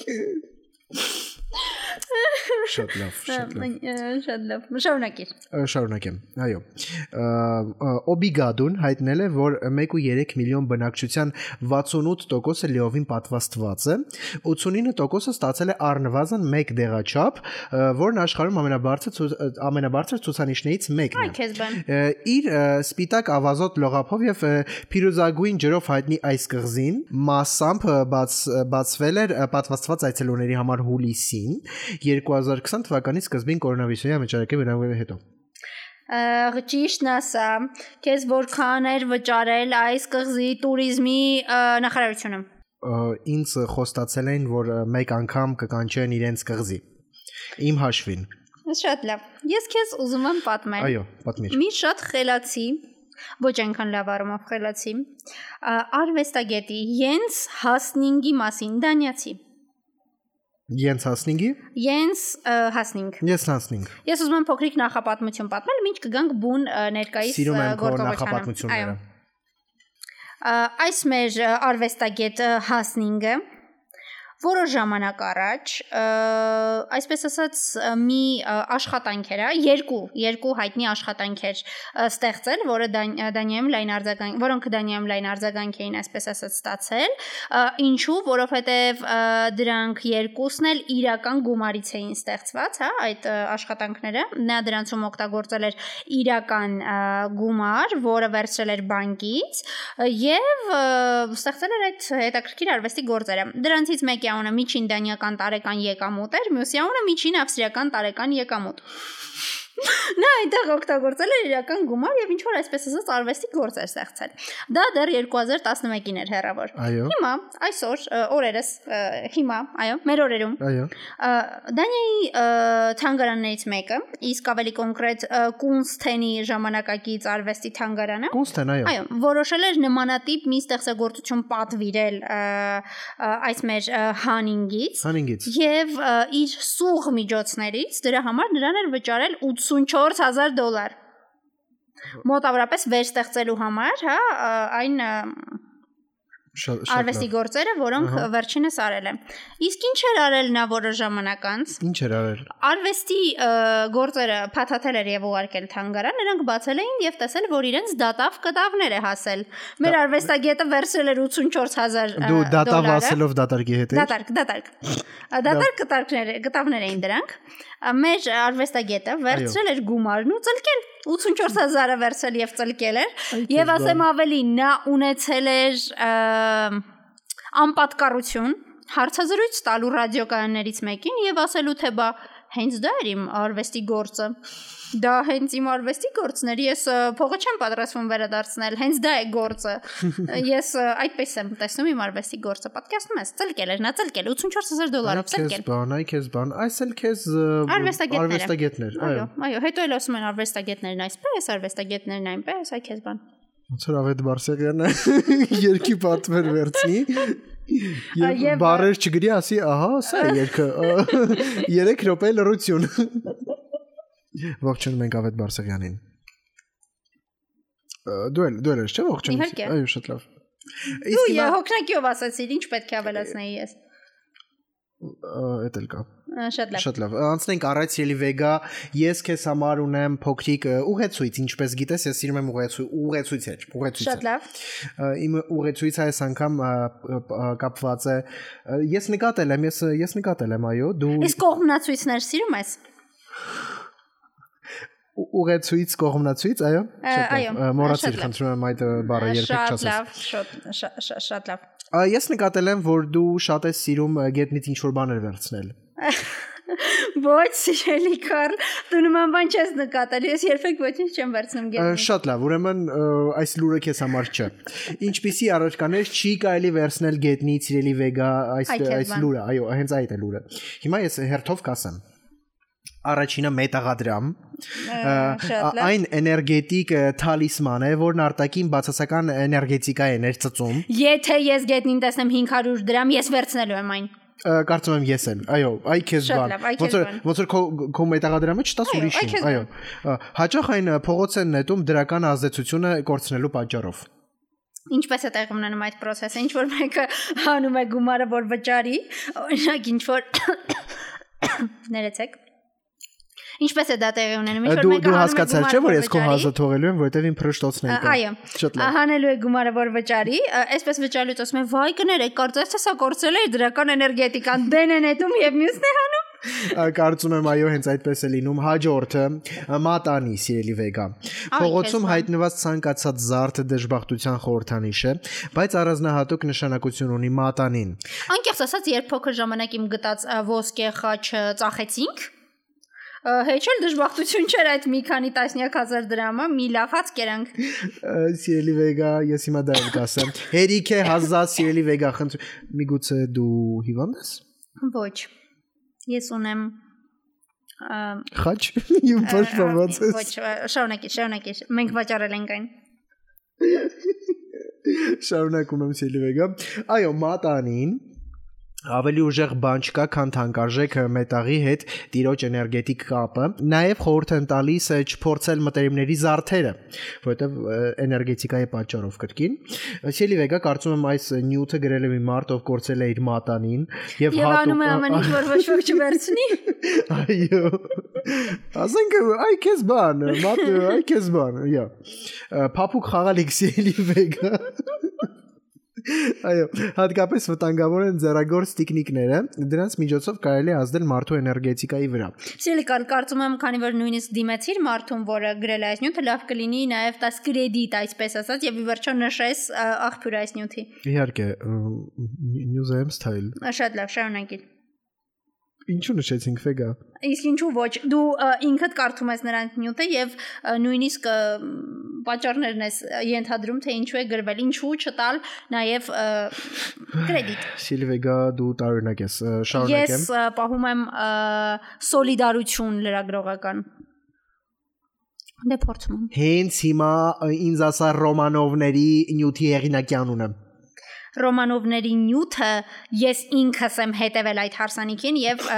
Speaker 1: Շատ լավ, շատ լավ։
Speaker 2: Ա, Շատ լավ։ Շնորհակալ։
Speaker 1: Ա, Շարունակեմ։ Այո։ Ա, ա, Օբիգադուն հայտնել է, որ 1.3 միլիոն բնակչության 68%-ը լիովին պատվաստված է, 89%-ը ստացել է առնվազն 1 դեղաչափ, ա, որն աշխարհում ամենաբարձր ցույց- ա, ամենաբարձր ցուցանիշներից մեկն է։
Speaker 2: Այ քեզ բան։
Speaker 1: Ա, իր ա, սպիտակ ավազոտ լողափով եւ ա, փիրուզագույն ջրով հայտնի այս կղզին massամբ ա, բաց բացվել էր ա, պատվաստված այցելուների համար հուլիսին 2020 թվականի սկզբին կորոնավիրուսի համաճարակի վերաբերյալ հետո
Speaker 2: Ա, Ճիշտն ասա, քեզ որքան էր վճարել այս կղզի туриզմի ա, նախարարությունը։
Speaker 1: Ա, ինձ ա, խոստացել էին որ ա, մեկ անգամ կկանչեն իրենց կղզի իմ հաշվին
Speaker 2: Շատ լավ։ Ես քեզ ուզում եմ պատմել։
Speaker 1: այո պատմիր
Speaker 2: Մի շատ խելացի, ոչ այնքան լավ առումով խելացի, ա, արվեստագետի Յենս Հասնինգի մասին դանյացի։
Speaker 1: յենց հասնինգի
Speaker 2: Յենս ա, Հասնինգ։
Speaker 1: ես հասնինգ
Speaker 2: Ես ուզում եմ փոքրիկ նախապատմություն պատմել, ինչ կգանք բուն ա, ներկայիս
Speaker 1: սիրում եմ քո
Speaker 2: գործողությանը։
Speaker 1: նախապատմությունները
Speaker 2: Այո։ Ա, Այս մեր ա, արվեստագետ ա, Հասնինգը որոշ ժամանակ առաջ այսպես ասած մի աշխատանք էր, երկու, երկու հայտնի աշխատանք էր ստեղծել, որը Դանիայում լայն արձագանք, որոնք Դանիայում լայն արձագանք էին այսպես ասած ստացել, ինչու, որովհետև դրանք երկուսն էլ իրական գումարից էին ստեղծված, հա, այդ աշխատանքները, նա դրանցում օգտագործել էր իրական գումար, որը վերցրել էր բանկից եւ ստեղծել էր այդ հետաքրքիր արվեստի գործերը։ Դրանցից մեկի անունը միջին դանիական տարեկան եկամուտ էր, մյուսի անունը միջին ավստրիական տարեկան եկամուտ նա այնտեղ օգտագործել էր իրական գումար եւ ինչ որ այսպես ասած արվեստի գործ էր ստեղծել։ Դա դեռ 2011-ին էր հեռավոր։ Հիմա այսօր օրերս հիմա, այո, մեր օրերում։
Speaker 1: Այո։
Speaker 2: Դանիայի թանգարաններից մեկը, իսկ ավելի կոնկրետ Կունստենի ժամանակակից արվեստի թանգարանը։
Speaker 1: Կունստեն, այո։
Speaker 2: Այո, որոշել էր նմանատիպ մի ստեղծագործություն պատվիրել այս մեր Հանինգից։
Speaker 1: Հանինգից։
Speaker 2: Եվ իր սուղ միջոցներից դրա համար նրան էր վճարել 8 84000 դոլար։ Մոտավորապես վերստեղծելու համար, հա, այն արվեստի գործերը, որոնք վերջինս արել է։ Իսկ ինչ էր արել նա որը ժամանակ անց։
Speaker 1: Ինչ էր արել։
Speaker 2: Արվեստի գործերը փաթաթել էր եւ ուղարկել թանգարան, նրանք բացել էին եւ տեսել, որ իրենց դատավ կտավներ է հասել։ Մեր արվեստագետը վերցրել էր 84000
Speaker 1: դոլարը։ Դու դատավ ասելով դատարկի հետ
Speaker 2: էր։ Դատարկ, դատարկ։ Դատարկ կտարկներ, գտավներ էին դրանք։ Մեր արվեստագետը վերցրել էր գումարն ու ծլկել 84000-ը վերցել եւ ծլկել էր եւ ասեմ ավելի նա ունեցել էր անպատկառություն հարցազրույց տալու ռադիոկայաններից մեկին եւ ասելու թե բա հենց դա էր իմ արվեստի գործը դա հենց իմ արվեստի գործն էր ես փողը չեմ պատրաստվում վերադարձնել հենց դա է գործը ես այդպես եմ տեսնում իմ արվեստի գործը պատկերացնում ես ծլկել էր նա ծլկել 84000 դոլարով
Speaker 1: քեզ
Speaker 2: ծլկել
Speaker 1: բան այ քեզ բան այս էլ քեզ
Speaker 2: արվեստագետներ այո այո հետո էլ ասում են արվեստագետներն այսպես արվեստագետներն այնպես այ քեզ բան
Speaker 1: Ոնցր ավետ Բարսեղյանը երկի պատվեր վերցնի Եվ բարեր չգրի ասի, ահա, սա է երկը։ 3 րոպե լրություն։ Ողջունում ենք Ավետ Բարսեղյանին։ Դու էլ, դու էլ ես, չէ՞, ողջունում։ Այո, շատ լավ։
Speaker 2: Իսկ դու հոգնակիով ասացիր, ինչ պետք է ավելացնեի ես։
Speaker 1: Էդ էլ կա։
Speaker 2: Շատ լավ։
Speaker 1: Շատ լավ։ Անցնենք առայց Ելիվեգա։ Ես քեզ համար ունեմ փոքրիկ ուղեցույց, ինչպես գիտես, ես սիրում եմ ուղեցույց, ուղեցույցեր, ուղեցույցը։
Speaker 2: Շատ լավ։
Speaker 1: Իմ ուղեցույցը այս անգամ կապված է։ Ես նկատել եմ, ես ես նկատել եմ, այո, դու
Speaker 2: Իսկ կողմնացույցներ սիրում ես։
Speaker 1: Ուղեցույց, կողմնացույց, այո։
Speaker 2: Այո։
Speaker 1: Մոռացիր, խնդրում եմ այդ բառը երբեք
Speaker 2: չասես։ Շատ լավ, շատ շատ լավ։
Speaker 1: Ես նկատել եմ, որ դու շատ ես սիրում գետնից ինչ որ բաներ վերցնել։
Speaker 2: Ոչ, սիրելի Կարլ, դու նման բան չես նկատել։ Ես երբեք ոչինչ չեմ վերցնում գետնից։
Speaker 1: Շատ լավ, ուրեմն այս լուրը քեզ համար չէ։ Ինչպիսի առարկաներ չի կարելի վերցնել գետնից, սիրելի Վեգա, այս այս լուրը, այո, հենց այդ է լուրը։ Հիմա ես հերթով կասեմ առաջինը մետաղադրամ այն էներգետիկ թալիսման է որն արտակին բացասական էներգետիկա է ներծծում
Speaker 2: եթե ես գետնին տեսնեմ 500 դրամ ես վերցնելու եմ այն
Speaker 1: կարծում եմ ես եմ այո այ քեզ բան ոնց որ ոնց որ քո քո մետաղադրամը չտաս ուրիշին այո հաճախ այն փողոց են նետում դրական ազդեցությունը կորցնելու պատճառով
Speaker 2: ինչպես է տեղի ունենում այդ process-ը ինչ որ մեկը հանում է գումարը որ վճարի օրինակ ինչ որ ներեցեք Ինչպես է դա տեղի ունենում։ Ինչ
Speaker 1: որ մենք դու հասկացար չէ որ ես քո հազը թողելու եմ, որովհետև իմ փրշտոցն են կա։
Speaker 2: Այո։ Շատ լավ։ Հանելու է գումարը որ վճարի, այսպես վճարելուց ասում եմ՝ «Վայ կներեք, կարծես թե սա կորցել է դրական էներգետիկան, դեն են դում եւ մյուսն է հանում»։
Speaker 1: Կարծում եմ այո, հենց այդպես է լինում։ Հաջորդը մատանի, սիրելի վեգա։ Փողոցում հայտնված ցանկացած զարդը դժբախտության խորհրդանիշ է, բայց առանձնահատուկ նշանակություն ունի մատանին։
Speaker 2: Անկեղծ ասած, երբ փոքր ժամանակ իմ գտած ոսկե խաչը ծախեցինք, հեչել դժբախտություն չէր այդ մի քանի տասնյակ հազար դրամը, մի լավ հաց կերանք։
Speaker 1: Սիրելի Վեգա, ես հիմա դա եմ կասեմ։ Հերիք է հազա սիրելի Վեգա, խնդրում։ Միգուցե դու հիվանդ ես։
Speaker 2: Ոչ։ Ես ունեմ
Speaker 1: Խաչ, իմ փոշտաված
Speaker 2: ես։ Ոչ, շառնակի, շառնակի։ Մենք վաճառել ենք այն։
Speaker 1: Շառնակում եմ սիրելի Վեգա։ Այո, մատանին ավելի ուժեղ բան չկա, քան թանկարժեք մետաղի հետ տիրոջ էներգետիկ կապը։ Նաև խորհուրդ են տալիս է չփորձել մտերիմների զարդերը, որովհետև էներգետիկայի պատճառով կրկին։ Սելի վեգա կարծում եմ այս նյութը գրել է մի մարդ, ով կործել է իր մատանին եւ
Speaker 2: Եվ անում է ամեն ինչ, որ ոչ ոք չվերցնի։
Speaker 1: Այո։ Ասենք այ քեզ բան, մատ այ քեզ բան, յա։ Փափուկ խաղալիք սելի վեգա։ Այո, հատկապես վտանգավոր են ձեռագործ տեխնիկները, դրանց միջոցով կարելի է ազդել մարդու էներգետիկայի վրա։
Speaker 2: Սիլիկան կարծում եմ, քանի որ նույնիսկ դիմեցիր մարդուն, որը գրել է այս նյութը, լավ կլինի նաև 10 կրեդիտ, այսպես ասած, եւ ի վերջո նշես ա, աղբյուր այս նյութի։
Speaker 1: Իհարկե, news am style։
Speaker 2: Ա, Շատ լավ, շարունակիր։
Speaker 1: Ինչու նշեցինք վեգա։
Speaker 2: Իսկ ինչու ոչ, դու ա, ինքդ կարդում ես նրանք նյութը եւ ա, նույնիսկ ա, պատճառներն ես ենթադրում, թե ինչու է գրվել, ինչու չտալ նաև ա, կրեդիտ։
Speaker 1: Սիլվեգա դու տարօրինակ ես, ը, շարունակեմ։
Speaker 2: Ես ա, պահում եմ ա, սոլիդարություն լրագրողական։ Դե փորձում եմ։
Speaker 1: Հենց հիմա ը, ինձ ասա Ռոմանովների նյութի հեղինակյանունը։
Speaker 2: Ռոմանովների նյութը ես ինքս եմ հետևել այդ հարսանիքին եւ ա,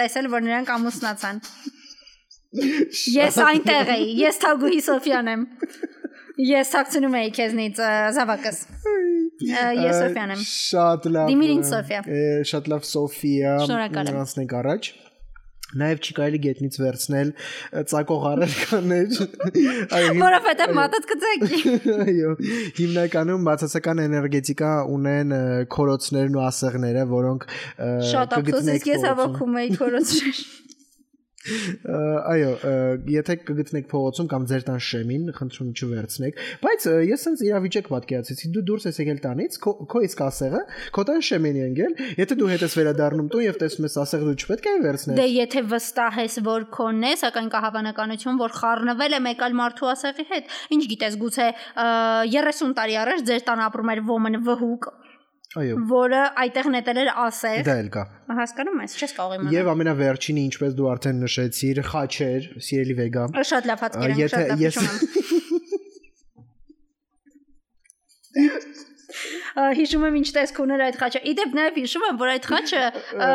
Speaker 2: տեսել որ նրանք ամուսնացան։ Ես այնտեղ էի, ես Թագուհի Սոֆյան եմ։ Ես ցածնում էի քեզնից ա, զավակս։ Ա, Ես Սոֆյան եմ։
Speaker 1: Շատ լավ։
Speaker 2: Դիմիր ինձ
Speaker 1: ը,
Speaker 2: Սոֆիա։
Speaker 1: ը, Շատ լավ Սոֆիա։
Speaker 2: Շնորհակալ եմ։
Speaker 1: Անցնենք առաջ։ Նաև չի կարելի գետնից վերցնել ը, ծակող առարկաներ։ Այո, հիմ-
Speaker 2: Որովհետեւ մատդ կծակի։
Speaker 1: Այո, հիմնականում բացասական էներգետիկա ունեն ը, քորոցներն ու ասեղները, որոնք ը,
Speaker 2: Շատ ափսոս, իսկ ես
Speaker 1: փողոցում։
Speaker 2: հավաքում էի քորոցը։
Speaker 1: Ա, Այո, ը, եթե կգտնեք փողոցում կամ ձեր տան շեմին, խնդրում չվերցնեք, բայց ը, ես ինձ իրավիճակ պատկերացեցի, դու դուրս ես եկել տանից, քո քո իսկ ասեղը, քո տան շեմին է ընկել, եթե դու հետ ես վերադառնում տուն եւ տեսնում ես ասեղը դու չպետք է վերցնես։
Speaker 2: Դե եթե վստահ ես, որ քոնն է, սակայն կա հավանականություն, որ խառնվել է մեկ այլ մարդու ասեղի հետ։ Ինչ գիտես, գուցե ը, 30 տարի առաջ ձեր տան ապրում էր ոմն վհուկ,
Speaker 1: Այո,
Speaker 2: որը այդտեղ նետել էր ասեղ։
Speaker 1: դա էլ կա։
Speaker 2: Հասկանում ես, չես կարող
Speaker 1: Դե- Եվ
Speaker 2: իմանալ։
Speaker 1: ամենավերջինը, ինչպես դու արդեն նշեցիր, խաչեր, սիրելի վեգա։
Speaker 2: Ա, Շատ լավ հատկեր եմ,
Speaker 1: Եթե
Speaker 2: շատ լավ
Speaker 1: ես-
Speaker 2: հիշում եմ։ Ա, Հիշում եմ ինչ տեսք ուներ այդ խաչը։ Իդեպ նաև հիշում եմ, որ այդ խաչը ա,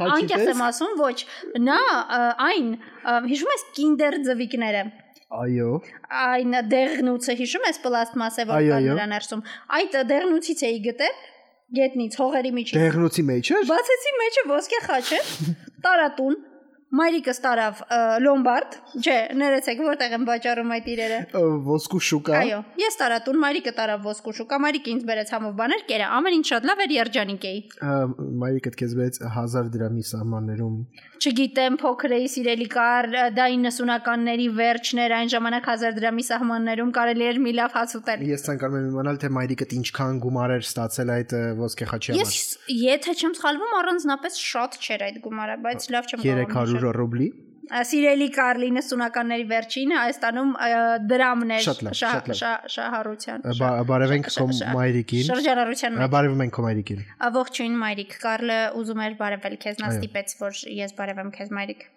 Speaker 1: Խաչի
Speaker 2: անկեղծ
Speaker 1: տեսք։
Speaker 2: եմ ասում, ոչ, նա ա, այն ա, հիշում ես Kinder ձվիկները։
Speaker 1: Այո։
Speaker 2: Այն դեղնուցը հիշում ես պլաստմասե որ
Speaker 1: Այո,
Speaker 2: կար
Speaker 1: այո։
Speaker 2: նրա ներսում։ Այդ դեղնուցից էի գտել գետնից հողերի միջից։
Speaker 1: Դեղնուցի մեջ է։
Speaker 2: Բացեցի մեջը ոսկե խաչը, տարատուն, մայրիկս տարավ ը, լոմբարդ, չէ, ներեցեք որտեղ եմ վաճառում այդ իրերը։
Speaker 1: Ոսկու շուկա։
Speaker 2: Այո, ես տարատուն, մայրիկը տարավ ոսկու շուկա, մայրիկը ինձ բերեց համով բաներ, կերա, ամեն ինչ շատ լավ էր, երջանիկ էի։
Speaker 1: Մայրիկդ քեզ վեց 1000 դրամի սահմաններում
Speaker 2: Չգիտեմ, փոքր էի սիրելի կար, ը, դա 90-ականների վերջներ, այն ժամանակ 1000 դրամի սահմաններում կարելի էր մի լավ հաց ուտել։
Speaker 1: Ես ցանկանում եմ իմանալ թե մայրիկդ ինչքան գումար էր ստացել այդ ը, ոսկե խաչի
Speaker 2: Ես
Speaker 1: համար։
Speaker 2: եթե չեմ սխալվում, առանձնապես շատ չէր այդ գումարը, բայց լավ չեմ նշել։
Speaker 1: 300 ռուբլի։
Speaker 2: Ա, Սիրելի Կարլինը սունականների վերջին Հայաստանում ա, դրամներ
Speaker 1: Շատ լավ,
Speaker 2: շա-
Speaker 1: շատ լավ։
Speaker 2: շա- շահառության։
Speaker 1: Ա,
Speaker 2: շա-
Speaker 1: բա- Բարևենք
Speaker 2: շա-
Speaker 1: քո
Speaker 2: շա-
Speaker 1: մայրիկին։
Speaker 2: Շրջանառության
Speaker 1: Ա,
Speaker 2: մեջ
Speaker 1: Բարևում ենք քո մայրիկին։
Speaker 2: ողջույն Մայրիկ, Կարլը ուզում էր բարևել քեզ, նա
Speaker 1: Այո։
Speaker 2: ստիպեց, որ ես բարևեմ քեզ Մայրիկ։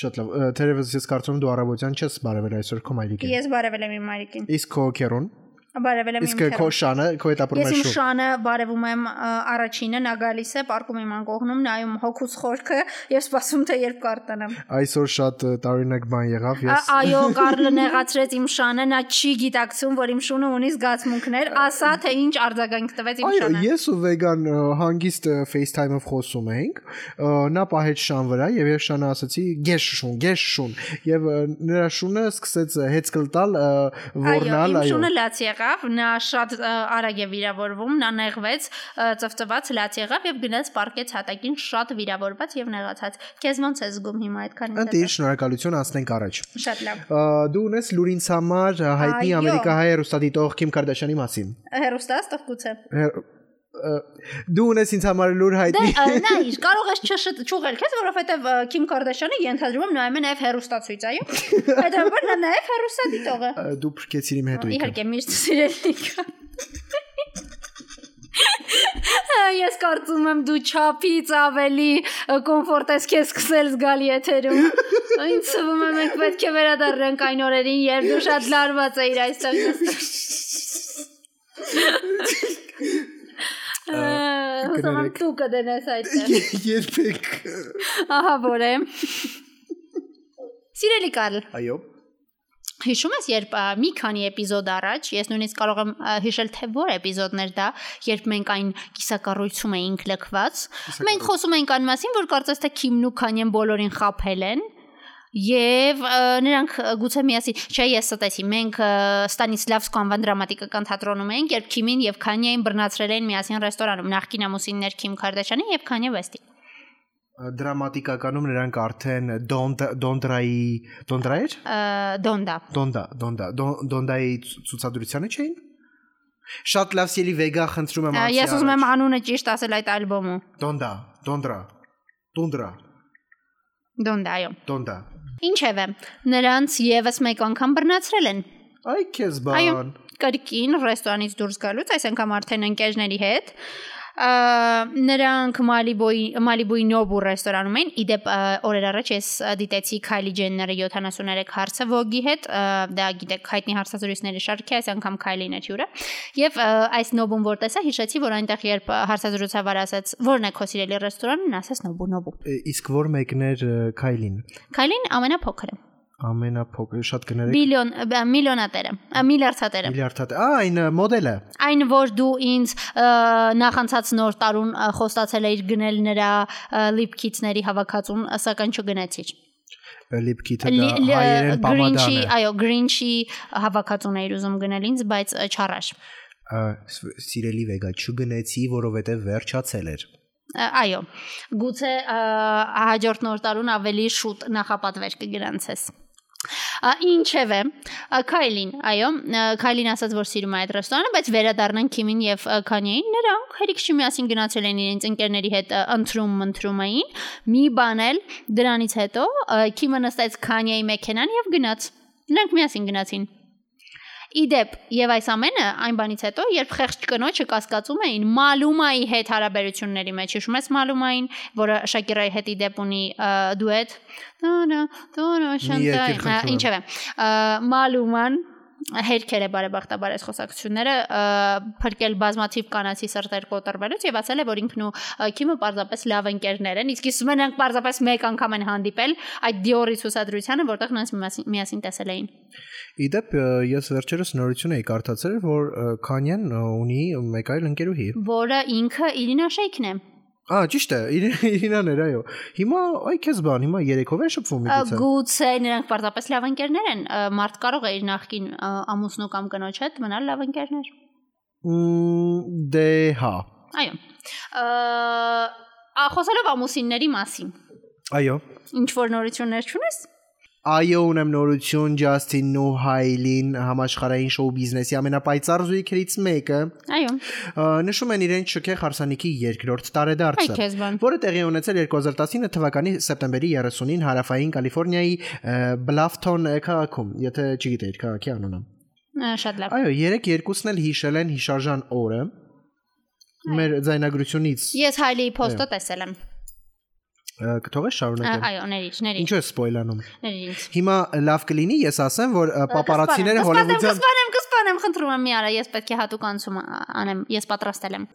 Speaker 1: Շատ լավ։ ը, Թերևս ես կարծում եմ դու առավոտյան չես բարևել այսօր քո մայրիկին։
Speaker 2: Ես բարևել եմ իմ Մայրիկին։
Speaker 1: Իսկ քո քերուն։
Speaker 2: Բարևել եմ իմ
Speaker 1: Իսկ ը, քո
Speaker 2: քեզ։
Speaker 1: շանը, քո հետ ապրում
Speaker 2: Ես
Speaker 1: է
Speaker 2: իմ
Speaker 1: շուն։
Speaker 2: շանը բարևում եմ ա, առաջինը, նա գալիս է, պարկում իմ անկողնում, նայում հոգուս խորքը եւ սպասում թե երբ կարտանամ։
Speaker 1: Այսօր շատ ը, տարօրինակ բան եղավ։
Speaker 2: Ա-
Speaker 1: Ես
Speaker 2: Այո, Կարլը նեղացրեց իմ շանը, նա չի գիտակցում, որ իմ շունը ունի զգացմունքներ, ասա թե ինչ արձագանք տվեց իմ
Speaker 1: Այո,
Speaker 2: շանը։
Speaker 1: ես ու վեգան ը, հանգիստ ը, FaceTime-ով խոսում էինք։ ը, Նա պահեց շան վրա եւ ես շանը ասացի՝ «Գես շուն, գես շուն»։ Եվ ը, նրա շունը սկսեց ը, հեծ կլտալ, ը,
Speaker 2: Այո, իմ
Speaker 1: ոռնալ, այո։
Speaker 2: շունը լաց եղավ, նա շատ ա, արագ է վիրավորվում, նա նեղվեց, ա, ծվծված լաց եղավ եւ գնաց պարկեց հատակին շատ վիրավորված եւ նեղացած։ Քեզ ո՞նց է զգում հիմա այդքան
Speaker 1: Ընտիր, շնորհակալություն, անցնենք առաջ։
Speaker 2: Շատ լավ։
Speaker 1: Ա, Դու ունես լուրինց համար ա, հայտնի
Speaker 2: Այո։
Speaker 1: ամերիկահայ հերոստատիտող Քիմ Կարդաշյանի մասին։
Speaker 2: Հերոստաստով գուցե։
Speaker 1: Հեր- ը, Դու ունես ինձ համար լուր
Speaker 2: Դե
Speaker 1: հայտնի։
Speaker 2: ա, նայիր, կարող ես չշտ ճուղել քեզ, որովհետեւ ա, Քիմ Կարդաշյանը ենթադրում եմ նայում է նաեւ հերոստացույց, այո։ Հետո նա նաեւ հերոստադիտող է։
Speaker 1: Ա, Դու փրկեցիր իմ հետույքը։
Speaker 2: Իհարկե միշտ սիրելիքա։ Ես կարծում եմ դու ճապից ավելի կոմֆորտ ես քեզ սկսել զգալ եթերում։ Ինձ թվում է մենք պետք է վերադառնանք այն օրերին, երբ դու շատ լարված էիր այստեղ։
Speaker 1: Ա,
Speaker 2: Ասում
Speaker 1: կներեք։
Speaker 2: դու կդնես այդտեղ։
Speaker 1: Երբեք։
Speaker 2: Ահա որ է։ Սիրելի Կարլ,
Speaker 1: Այո։
Speaker 2: հիշում ես, երբ ա, մի քանի էպիզոդ առաջ, ես նույնիսկ կարող եմ ա, հիշել թե որ էպիզոդներ դա, երբ մենք այն կիսակառույցում էինք լքված, մենք խոսում էինք այն մասին, որ կարծես թե Քիմն ու Քանյեն բոլորին խափել են։ Եվ ա, նրանք ա, գուցե միասին, չէ, ես ստացի, մենք ա, Ստանիսլավսկու անվան դրամատիկական թատրոնում էինք, երբ Քիմին եւ Քանյային բռնացրել էին միասին ռեստորանում, նախկին ամուսիններ Քիմ Քարդաշյանը եւ Քանյե Վեստին։
Speaker 1: Դրամատիկականում նրանք արդեն Don't Don't-րայի Don't-րայեր։
Speaker 2: Ա, Դոնդա։
Speaker 1: Դոնդա, Դոնդա, Դոն- Դոնդայի ցու- ցուցադրությանը չէին։ Շատ լավ սիրելի Վեգա խնդրում եմ
Speaker 2: Ա, Ես ուզում եմ անունը ճիշտ ասել այդ ալբոմու։
Speaker 1: Դոնդա, Դոնդրա, Տունդրա,
Speaker 2: Դոնդա, այո։
Speaker 1: Դոնդա։
Speaker 2: Ինչևէ, նրանց եւս մեկ անգամ բռնացրել են։
Speaker 1: Այ քեզ
Speaker 2: Այո,
Speaker 1: բան։
Speaker 2: կրկին ռեստորանից դուրս գալուց, այս անգամ արդեն ընկերների հետ։ Ա, նրանք Մալիբոյի Մալիբոյի Նոբու ռեստորանում էին։ Իդեպ ա, օրեր առաջ ես ա, դիտեցի Քայլի Ջենները 73 հարցը Vogue-ի հետ, ա, դա գիտեք հայտնի հարցազրույցների շարքի, այս անգամ Քայլին է հյուրը։ Եվ ա, այս Նոբուն որ տեսա, հիշեցի, որ այնտեղ երբ ա, հարցազրույցավար ասաց, որն է քո սիրելի ռեստորանն, ասաց Նոբու Նոբու։
Speaker 1: Է, Իսկ որ մեկներ Քայլին
Speaker 2: Քայլին ամենափոքրը։
Speaker 1: ամենափոքր շատ կներեք
Speaker 2: Միլիոն բ- միլիոնատերը, ա, միլիարդատերը։
Speaker 1: միլիարդատ։ Ա, այն ը, մոդելը։
Speaker 2: Այն որ դու ինձ ը, նախանցած նոր տարուն ը, խոստացել էիր գնել նրա ը, լիպքիցների հավաքածուն, սակայն չգնացիր։
Speaker 1: Լիպքիթը դա
Speaker 2: Լի- լի- ը,
Speaker 1: հայերեն
Speaker 2: Գրինչի,
Speaker 1: պամադան է։
Speaker 2: այո, Գրինչի հավաքածուն էիր ուզում գնել ինձ, բայց ը, չարար։
Speaker 1: Ա, ս- Սիրելի Վեգա, չգնեցի, որովհետև վերջացել էր։
Speaker 2: Ա, Այո։ Գուցե ա, հաջորդ նոր տարուն ավելի շուտ նախապատվեր կգրանցես։ Ա, Ինչևէ, ա, Քայլին, այո, ա, Քայլին ասաց, որ սիրում է այդ ռեստորանը, բայց վերադառնան Քիմին եւ ա, Քանյային, նրանք հերիք չի միասին գնացել են իրենց ընկերների հետ ա, ընթրում ընթրում էին։ Մի բան էլ դրանից հետո ա, Քիմը նստեց Քանյայի մեքենան եւ գնաց։ Նրանք միասին գնացին։ Իդեպ, եւ այս ամենը այն բանից հետո, երբ խեղճ կնոջը կասկածում էին Մալումայի հետ հարաբերությունների մեջ, հիշում ես Մալումային, որը Շակիրայի հետ իդեպ ունի ա, դուետ։ Տոնա, տոնա, շանտայ,
Speaker 1: երկիր խնդրում եմ։
Speaker 2: հա, ինչևէ։ ա, Մալուման հերքեր է բարեբախտաբար այս խոսակցությունները ա, փրկել բազմաթիվ կանացի սրտեր կոտրվելուց եւ ասել է որ ինքն ու ա, Քիմը պարզապես լավ ընկերներ են իսկ իսկում նրանք պարզապես մեկ անգամ են հանդիպել այդ Dior-ի ցուսադրությանը որտեղ նրանց միասին- միասին տեսել էին
Speaker 1: Իդեպ ը, ես վերջերս նորություն էի կարդացել, որ Քանյան ունի մեկ այլ ընկերուհի։
Speaker 2: որը ինքը Իրինա Շեյքն է։
Speaker 1: Ա, ճիշտ է, Իր- Իրինան էր, այո։ Հիմա այ քեզ բան, հիմա երեքով է շփվում
Speaker 2: Ա,
Speaker 1: միգուցե։
Speaker 2: Գուցե նրանք պարզապես լավ ընկերներ են, ա, մարդ կարող է իր նախկին ա, ամուսնու կամ կնոջ հետ մնալ լավ ընկերներ։
Speaker 1: Մմ, Դե հա։
Speaker 2: Այո։ Ա, Ա խոսելով ամուսինների մասին,
Speaker 1: Այո։
Speaker 2: ինչ որ նորություններ չունես։
Speaker 1: Այո, ունեմ նորություն Justin Nohailin համաշխարհային շոու բիզնեսի ամենապայծառ զույգերից մեկը։
Speaker 2: Այո։
Speaker 1: ը, Նշում են իրեն շքեղ հարսանիքի երկրորդ
Speaker 2: Այ
Speaker 1: տարեդարձը։
Speaker 2: քեզ բան։
Speaker 1: որը տեղի է ունեցել 2019 թվականի սեպտեմբերի 30-ին հարավային Կալիֆոռնիայի ը, Bluffton ը, քաղաքում, եթե չգիտեիք քաղաքի անունը։
Speaker 2: Ա, Շատ լավ։
Speaker 1: Այո, 3-2-ն էլ հիշել են հիշարժան օրը։ Մեր ձայնագրությունից
Speaker 2: Ես Հայլիի post-ը տեսել եմ։
Speaker 1: ը, կթողես
Speaker 2: Ա,
Speaker 1: շարունակեմ։
Speaker 2: Այո, ներիջ, ներիջ,
Speaker 1: Ինչու է սպոյլանում։
Speaker 2: ներիջ։
Speaker 1: Հիմա լավ կլինի ես ասեմ, որ ը, պապարացիները հոլիվուդյան
Speaker 2: Կսպանեմ, կսպանեմ, խնդրում եմ մի արա, ես պետք է հատուկ անցում ա- անեմ, ես պատրաստել եմ։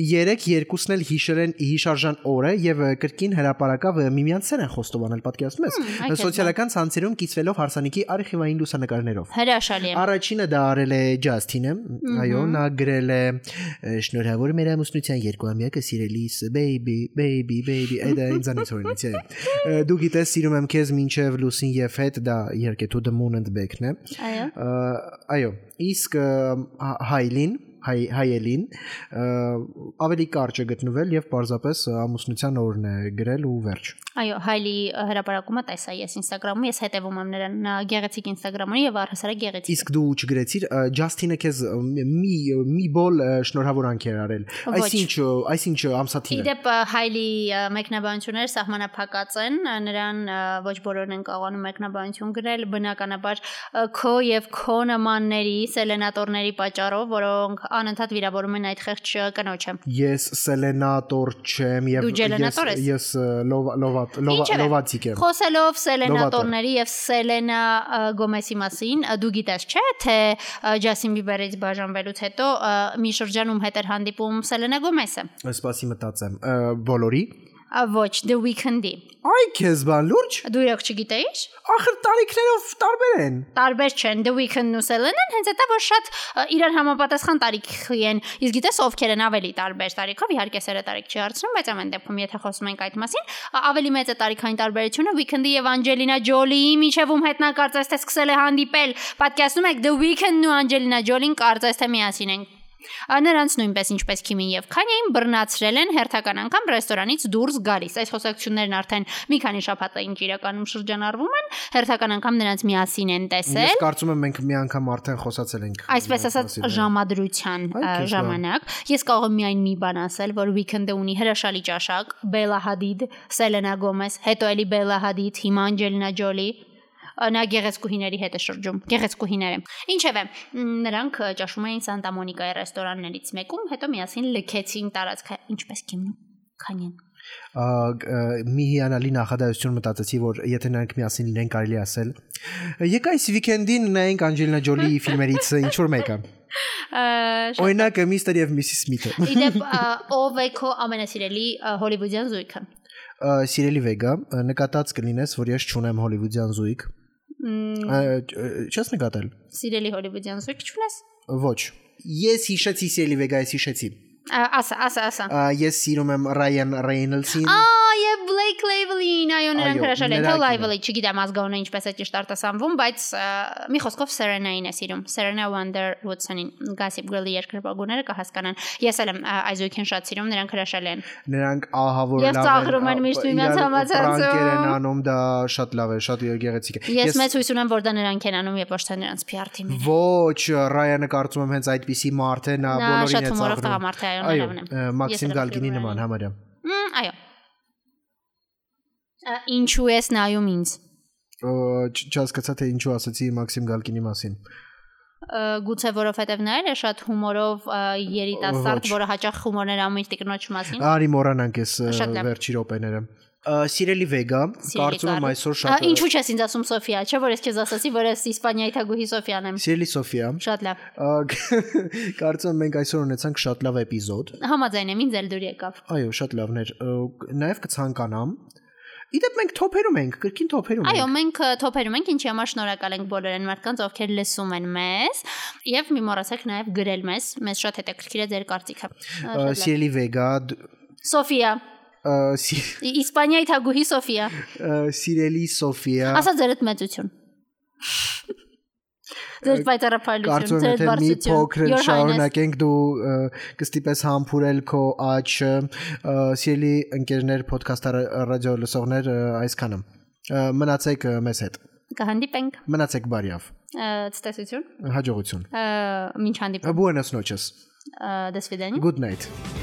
Speaker 1: 3-2-ն էլ հիշել են հիշարժան օրը եւ ը, կրկին հրաապարակավ միմյանցեր են խոստովանել, պատկերացնում
Speaker 2: Հմ, այ հա։
Speaker 1: ես։
Speaker 2: քեզ
Speaker 1: Սոցիալական ցանցերում կիսվելով հարսանիքի արխիվային լուսանկարներով։
Speaker 2: Հրաշալի է։
Speaker 1: Առաջինը դա արել է Ջասթինը, այո, նա գրել է «Ե, շնորհավոր մեր ամուսնության երկուամյակը սիրելիս, baby, baby, baby, այդ ինձանից հորինից է։ Ե, Դու գիտես, սիրում եմ քեզ մինչև լուսին եւ հետ, դա իհարկե to the moon and back-ն է։
Speaker 2: Այո։
Speaker 1: Ա, Այո, իսկ ը, հա- Հայլին հայ հայելին ը, ավելի կարճ է գտնվել եւ պարզապես ամուսնության օրն է գրել ու վերջ։
Speaker 2: Այո, Հայլի ը, հրապարակումը տեսա ես Instagram-ում, ես հետևում եմ նրան նա գեղեցիկ Instagram-ում եւ առհասարակ գեղեցիկ։
Speaker 1: Իսկ դու չգրեցիր ը, Ջասթինը քեզ ը, մի մի բոլ ը, շնորհավորանք էր արել։
Speaker 2: Ոչ։
Speaker 1: Այսինչ ը, այսինչ ը, ամսաթիվ։ է։
Speaker 2: Իդեպ ը, Հայլի ը, մեկնաբանությունները սահմանափակած են, ը, նրան ը, ոչ բոլորն են կարողանում մեկնաբանություն գրել, բնականաբար ը, քո եւ քո նմանների սելենատորների պատճառով, որոնք անընդհատ վիրավորում են այդ խեղճ կնոջը։
Speaker 1: Ես սելենատոր չեմ եւ
Speaker 2: Դու ջելենատոր
Speaker 1: ես
Speaker 2: ես։
Speaker 1: ես լովա լովա
Speaker 2: Ինչևէ,
Speaker 1: լովացիկ եմ։
Speaker 2: Խոսելով Սելենատորների եւ Սելենա ը, Գոմեսի մասին, ը, դու գիտես չէ, թե ը, Ջասին Բիբերից բաժանվելուց հետո ը, մի շրջանում հետ էր հանդիպում Սելենա Գոմեսը։
Speaker 1: Սպասի մտածեմ։ ը, Բոլորի։
Speaker 2: Ա, Ոչ, The Weeknd-ի։
Speaker 1: Այ քեզ բան լուրջ։
Speaker 2: Դու իրոք չգիտեիր։
Speaker 1: Ախր տարիքներով տարբեր են։
Speaker 2: Տարբեր չեն The Weeknd-ն ու Selena-ն, հենց այդ է որ շատ ը, իրար համապատասխան տարիքի են։ Իսկ գիտես ովքեր են ավելի տարբեր տարիքով, իհարկե սերը տարիք չի հարցնում, բայց ամեն դեպքում եթե խոսում ենք այդ մասին, ա, ավելի մեծ է տարիքային տարբերությունը Weeknd-ի եւ Angelina Jolie-ի միջևում հետնակարծես թե սկսել է հանդիպել։ Պատկերացնում եք The Weeknd-ն ու Angelina Jolie-ն կարծես թե միասին են։ Ա, Նրանց նույնպես ինչպես Քիմին եւ Քանյային բռնացրել են հերթական անգամ ռեստորանից դուրս գալիս։ Այս խոսակցություններն արդեն մի քանի շաբաթ այն իրականում շրջանառվում են, հերթական անգամ նրանց միասին են տեսել։
Speaker 1: Ես կարծում եմ մենք մի անգամ արդեն խոսացել ենք։ հա։
Speaker 2: Այսպես ասած ժամադրության
Speaker 1: Այ,
Speaker 2: ա,
Speaker 1: քեզ լավ։
Speaker 2: ժամանակ ես կարող եմ միայն մի բան ասել, որ Weekend-ը ունի հրաշալի ճաշակ, Bella Hadid, Selena Gomez, հետո էլի Bella Hadid, հիմա Angelina Jolie ա, նա գեղեցկուհիների հետ է շրջում գեղեցկուհիները ինչևէ մ, նրանք ա, ճաշում էին Սանտա Մոնիկայի ռեստորաններից մեկում հետո միասին լքեցին տարածքը ինչպես Քիմն Քանին
Speaker 1: Ա, գ- ա, մի հիանալի նախադասություն մտածեցի, որ եթե նրանք միասին լինեն կարելի է ասել։ Եկ այս վիկենդին նայենք Անջելինա Ջոլիի ֆիլմերից ինչ որ մեկը։ Օրինակը Mr. եւ Mrs. Smith-ը։
Speaker 2: իդեպ ա, ով է քո ամենասիրելի ա, հոլիվուդյան զույգը
Speaker 1: Ա, Սիրելի Վեգա, ա, նկատած կլինես, որ ես չունեմ հոլիվուդյան զույգ։
Speaker 2: Մ,
Speaker 1: Ա, չ- ա, Չես նկատել։
Speaker 2: սիրելի հոլիվուդյան զույգ չունես
Speaker 1: Ոչ։ Ես հիշեցի Սիրելի Վեգա, ես հիշեցի։
Speaker 2: Ա, Ասա, ասա, ասա։
Speaker 1: Ա, Ես սիրում եմ Ryan Reynolds-ին։
Speaker 2: Ահա, եւ Blake Lively-ին, այո, նրանք
Speaker 1: Այո,
Speaker 2: հրաշալի են,
Speaker 1: նրա
Speaker 2: թե
Speaker 1: կինը։
Speaker 2: Lively, չգիտեմ ազգանունը ինչպես է ճիշտ արտասանվում, բայց ա, մի խոսքով Serena-ին է սիրում։ Serena Wonderwood-ին Gossip Girl-ի երկրպագուները կհասկանան։ Ես էլ եմ ա, այս ույքին շատ սիրում, նրանք հրաշալի են։
Speaker 1: Նրանք ահա որ
Speaker 2: Եվ ծաղրում են
Speaker 1: ա,
Speaker 2: միշտ
Speaker 1: իրար
Speaker 2: միմյանց համացանցում։
Speaker 1: ֆրանկեր են անում, դա շատ լավ է, շատ գեղեցիկ է։
Speaker 2: Ես մեծ հույս ունեմ, որ դա նրանք են անում, եւ ոչ թե նրանց PR թիմը։
Speaker 1: Ոչ, Ռայանը կարծում եմ հենց այդպիսի մարդ է, նա
Speaker 2: Նա շատ
Speaker 1: բոլորին է
Speaker 2: հումորով
Speaker 1: ծաղրում։
Speaker 2: տղամարդ է, այո,
Speaker 1: Այո,
Speaker 2: նրան
Speaker 1: ը,
Speaker 2: է։
Speaker 1: Մաքսիմ
Speaker 2: Ես էլ եմ
Speaker 1: Գալկինի
Speaker 2: սիրում
Speaker 1: նման համարյա։
Speaker 2: Մ, Այո։ Ա, Ինչու ես նայում ինձ։
Speaker 1: Ա, չ- Չհասկացա թե ինչու ասացի Մաքսիմ Գալկինի մասին։
Speaker 2: Ա, գուցե որովհետև նա էլ է շատ հումորով ա, երիտասարդ,
Speaker 1: Ոչ։
Speaker 2: որը հաճախ հումորներ անում իր տիկնոջ մասին։
Speaker 1: Արի մորանանք էս ը,
Speaker 2: Շատ լավ։
Speaker 1: վերջի րոպեները։ Ա, Սիրելի Վեգա,
Speaker 2: Սիրելի
Speaker 1: կարծում եմ
Speaker 2: Կարլ։
Speaker 1: այսօր
Speaker 2: Ա,
Speaker 1: շատ
Speaker 2: Ինչու՞ չես ինձ ասում Սոֆիա, չէ՞ որ ես քեզ ասացի, որ ես Իսպանիայի թագուհի Սոֆիան եմ։
Speaker 1: Սիրելի Սոֆիա,
Speaker 2: Շատ լավ։
Speaker 1: ա, կարծում եմ մենք այսօր ունեցանք շատ լավ էպիզոդ։
Speaker 2: Համաձայն եմ, ինձ էլ դուր եկավ։
Speaker 1: Այո, շատ լավներ։ Ա, Նաև կցանկանամ։ Իդեպ մենք թոփերում ենք, կրկին թոփերում
Speaker 2: Այո,
Speaker 1: ենք։
Speaker 2: մենք ա, թոփերում ենք, ինչի համար շնորհակալ ենք բոլոր այն մարդկանց, ովքեր լսում են մեզ, եւ մի մոռացեք նաեւ գրել մեզ, մեզ շատ հետաքրքիր է ձեր կարծիքը։ Ա,
Speaker 1: Ա,
Speaker 2: շատ լավ։
Speaker 1: Սիրելի Վեգա, դ-
Speaker 2: Սոֆիա,
Speaker 1: ա, սի-
Speaker 2: Ի- Իսպանիայի թագուհի Սոֆիա։
Speaker 1: ա, Սիրելի Սոֆիա,
Speaker 2: Ասա ձերդ մեծություն։ Ձեր
Speaker 1: Կարծում
Speaker 2: պայծառափայլություն,
Speaker 1: եմ
Speaker 2: ձեր
Speaker 1: եթե մի փոքր
Speaker 2: բարձրություն։ Your Highness։
Speaker 1: շարունակենք դու ը, կստիպես համբուրել քո աչը ը, սիրելի ընկերներ ոդքասթ ռադիո լսողներ ը, այսքանը Ը, մնացեք ը, մեզ հետ
Speaker 2: Կհանդիպենք
Speaker 1: մնացեք բարիով
Speaker 2: ը, ցտեսություն։
Speaker 1: հաջողություն
Speaker 2: Ը, Մինչ հանդիպում։
Speaker 1: Buenas noches
Speaker 2: ը, До свидания։
Speaker 1: good night
Speaker 2: Ա,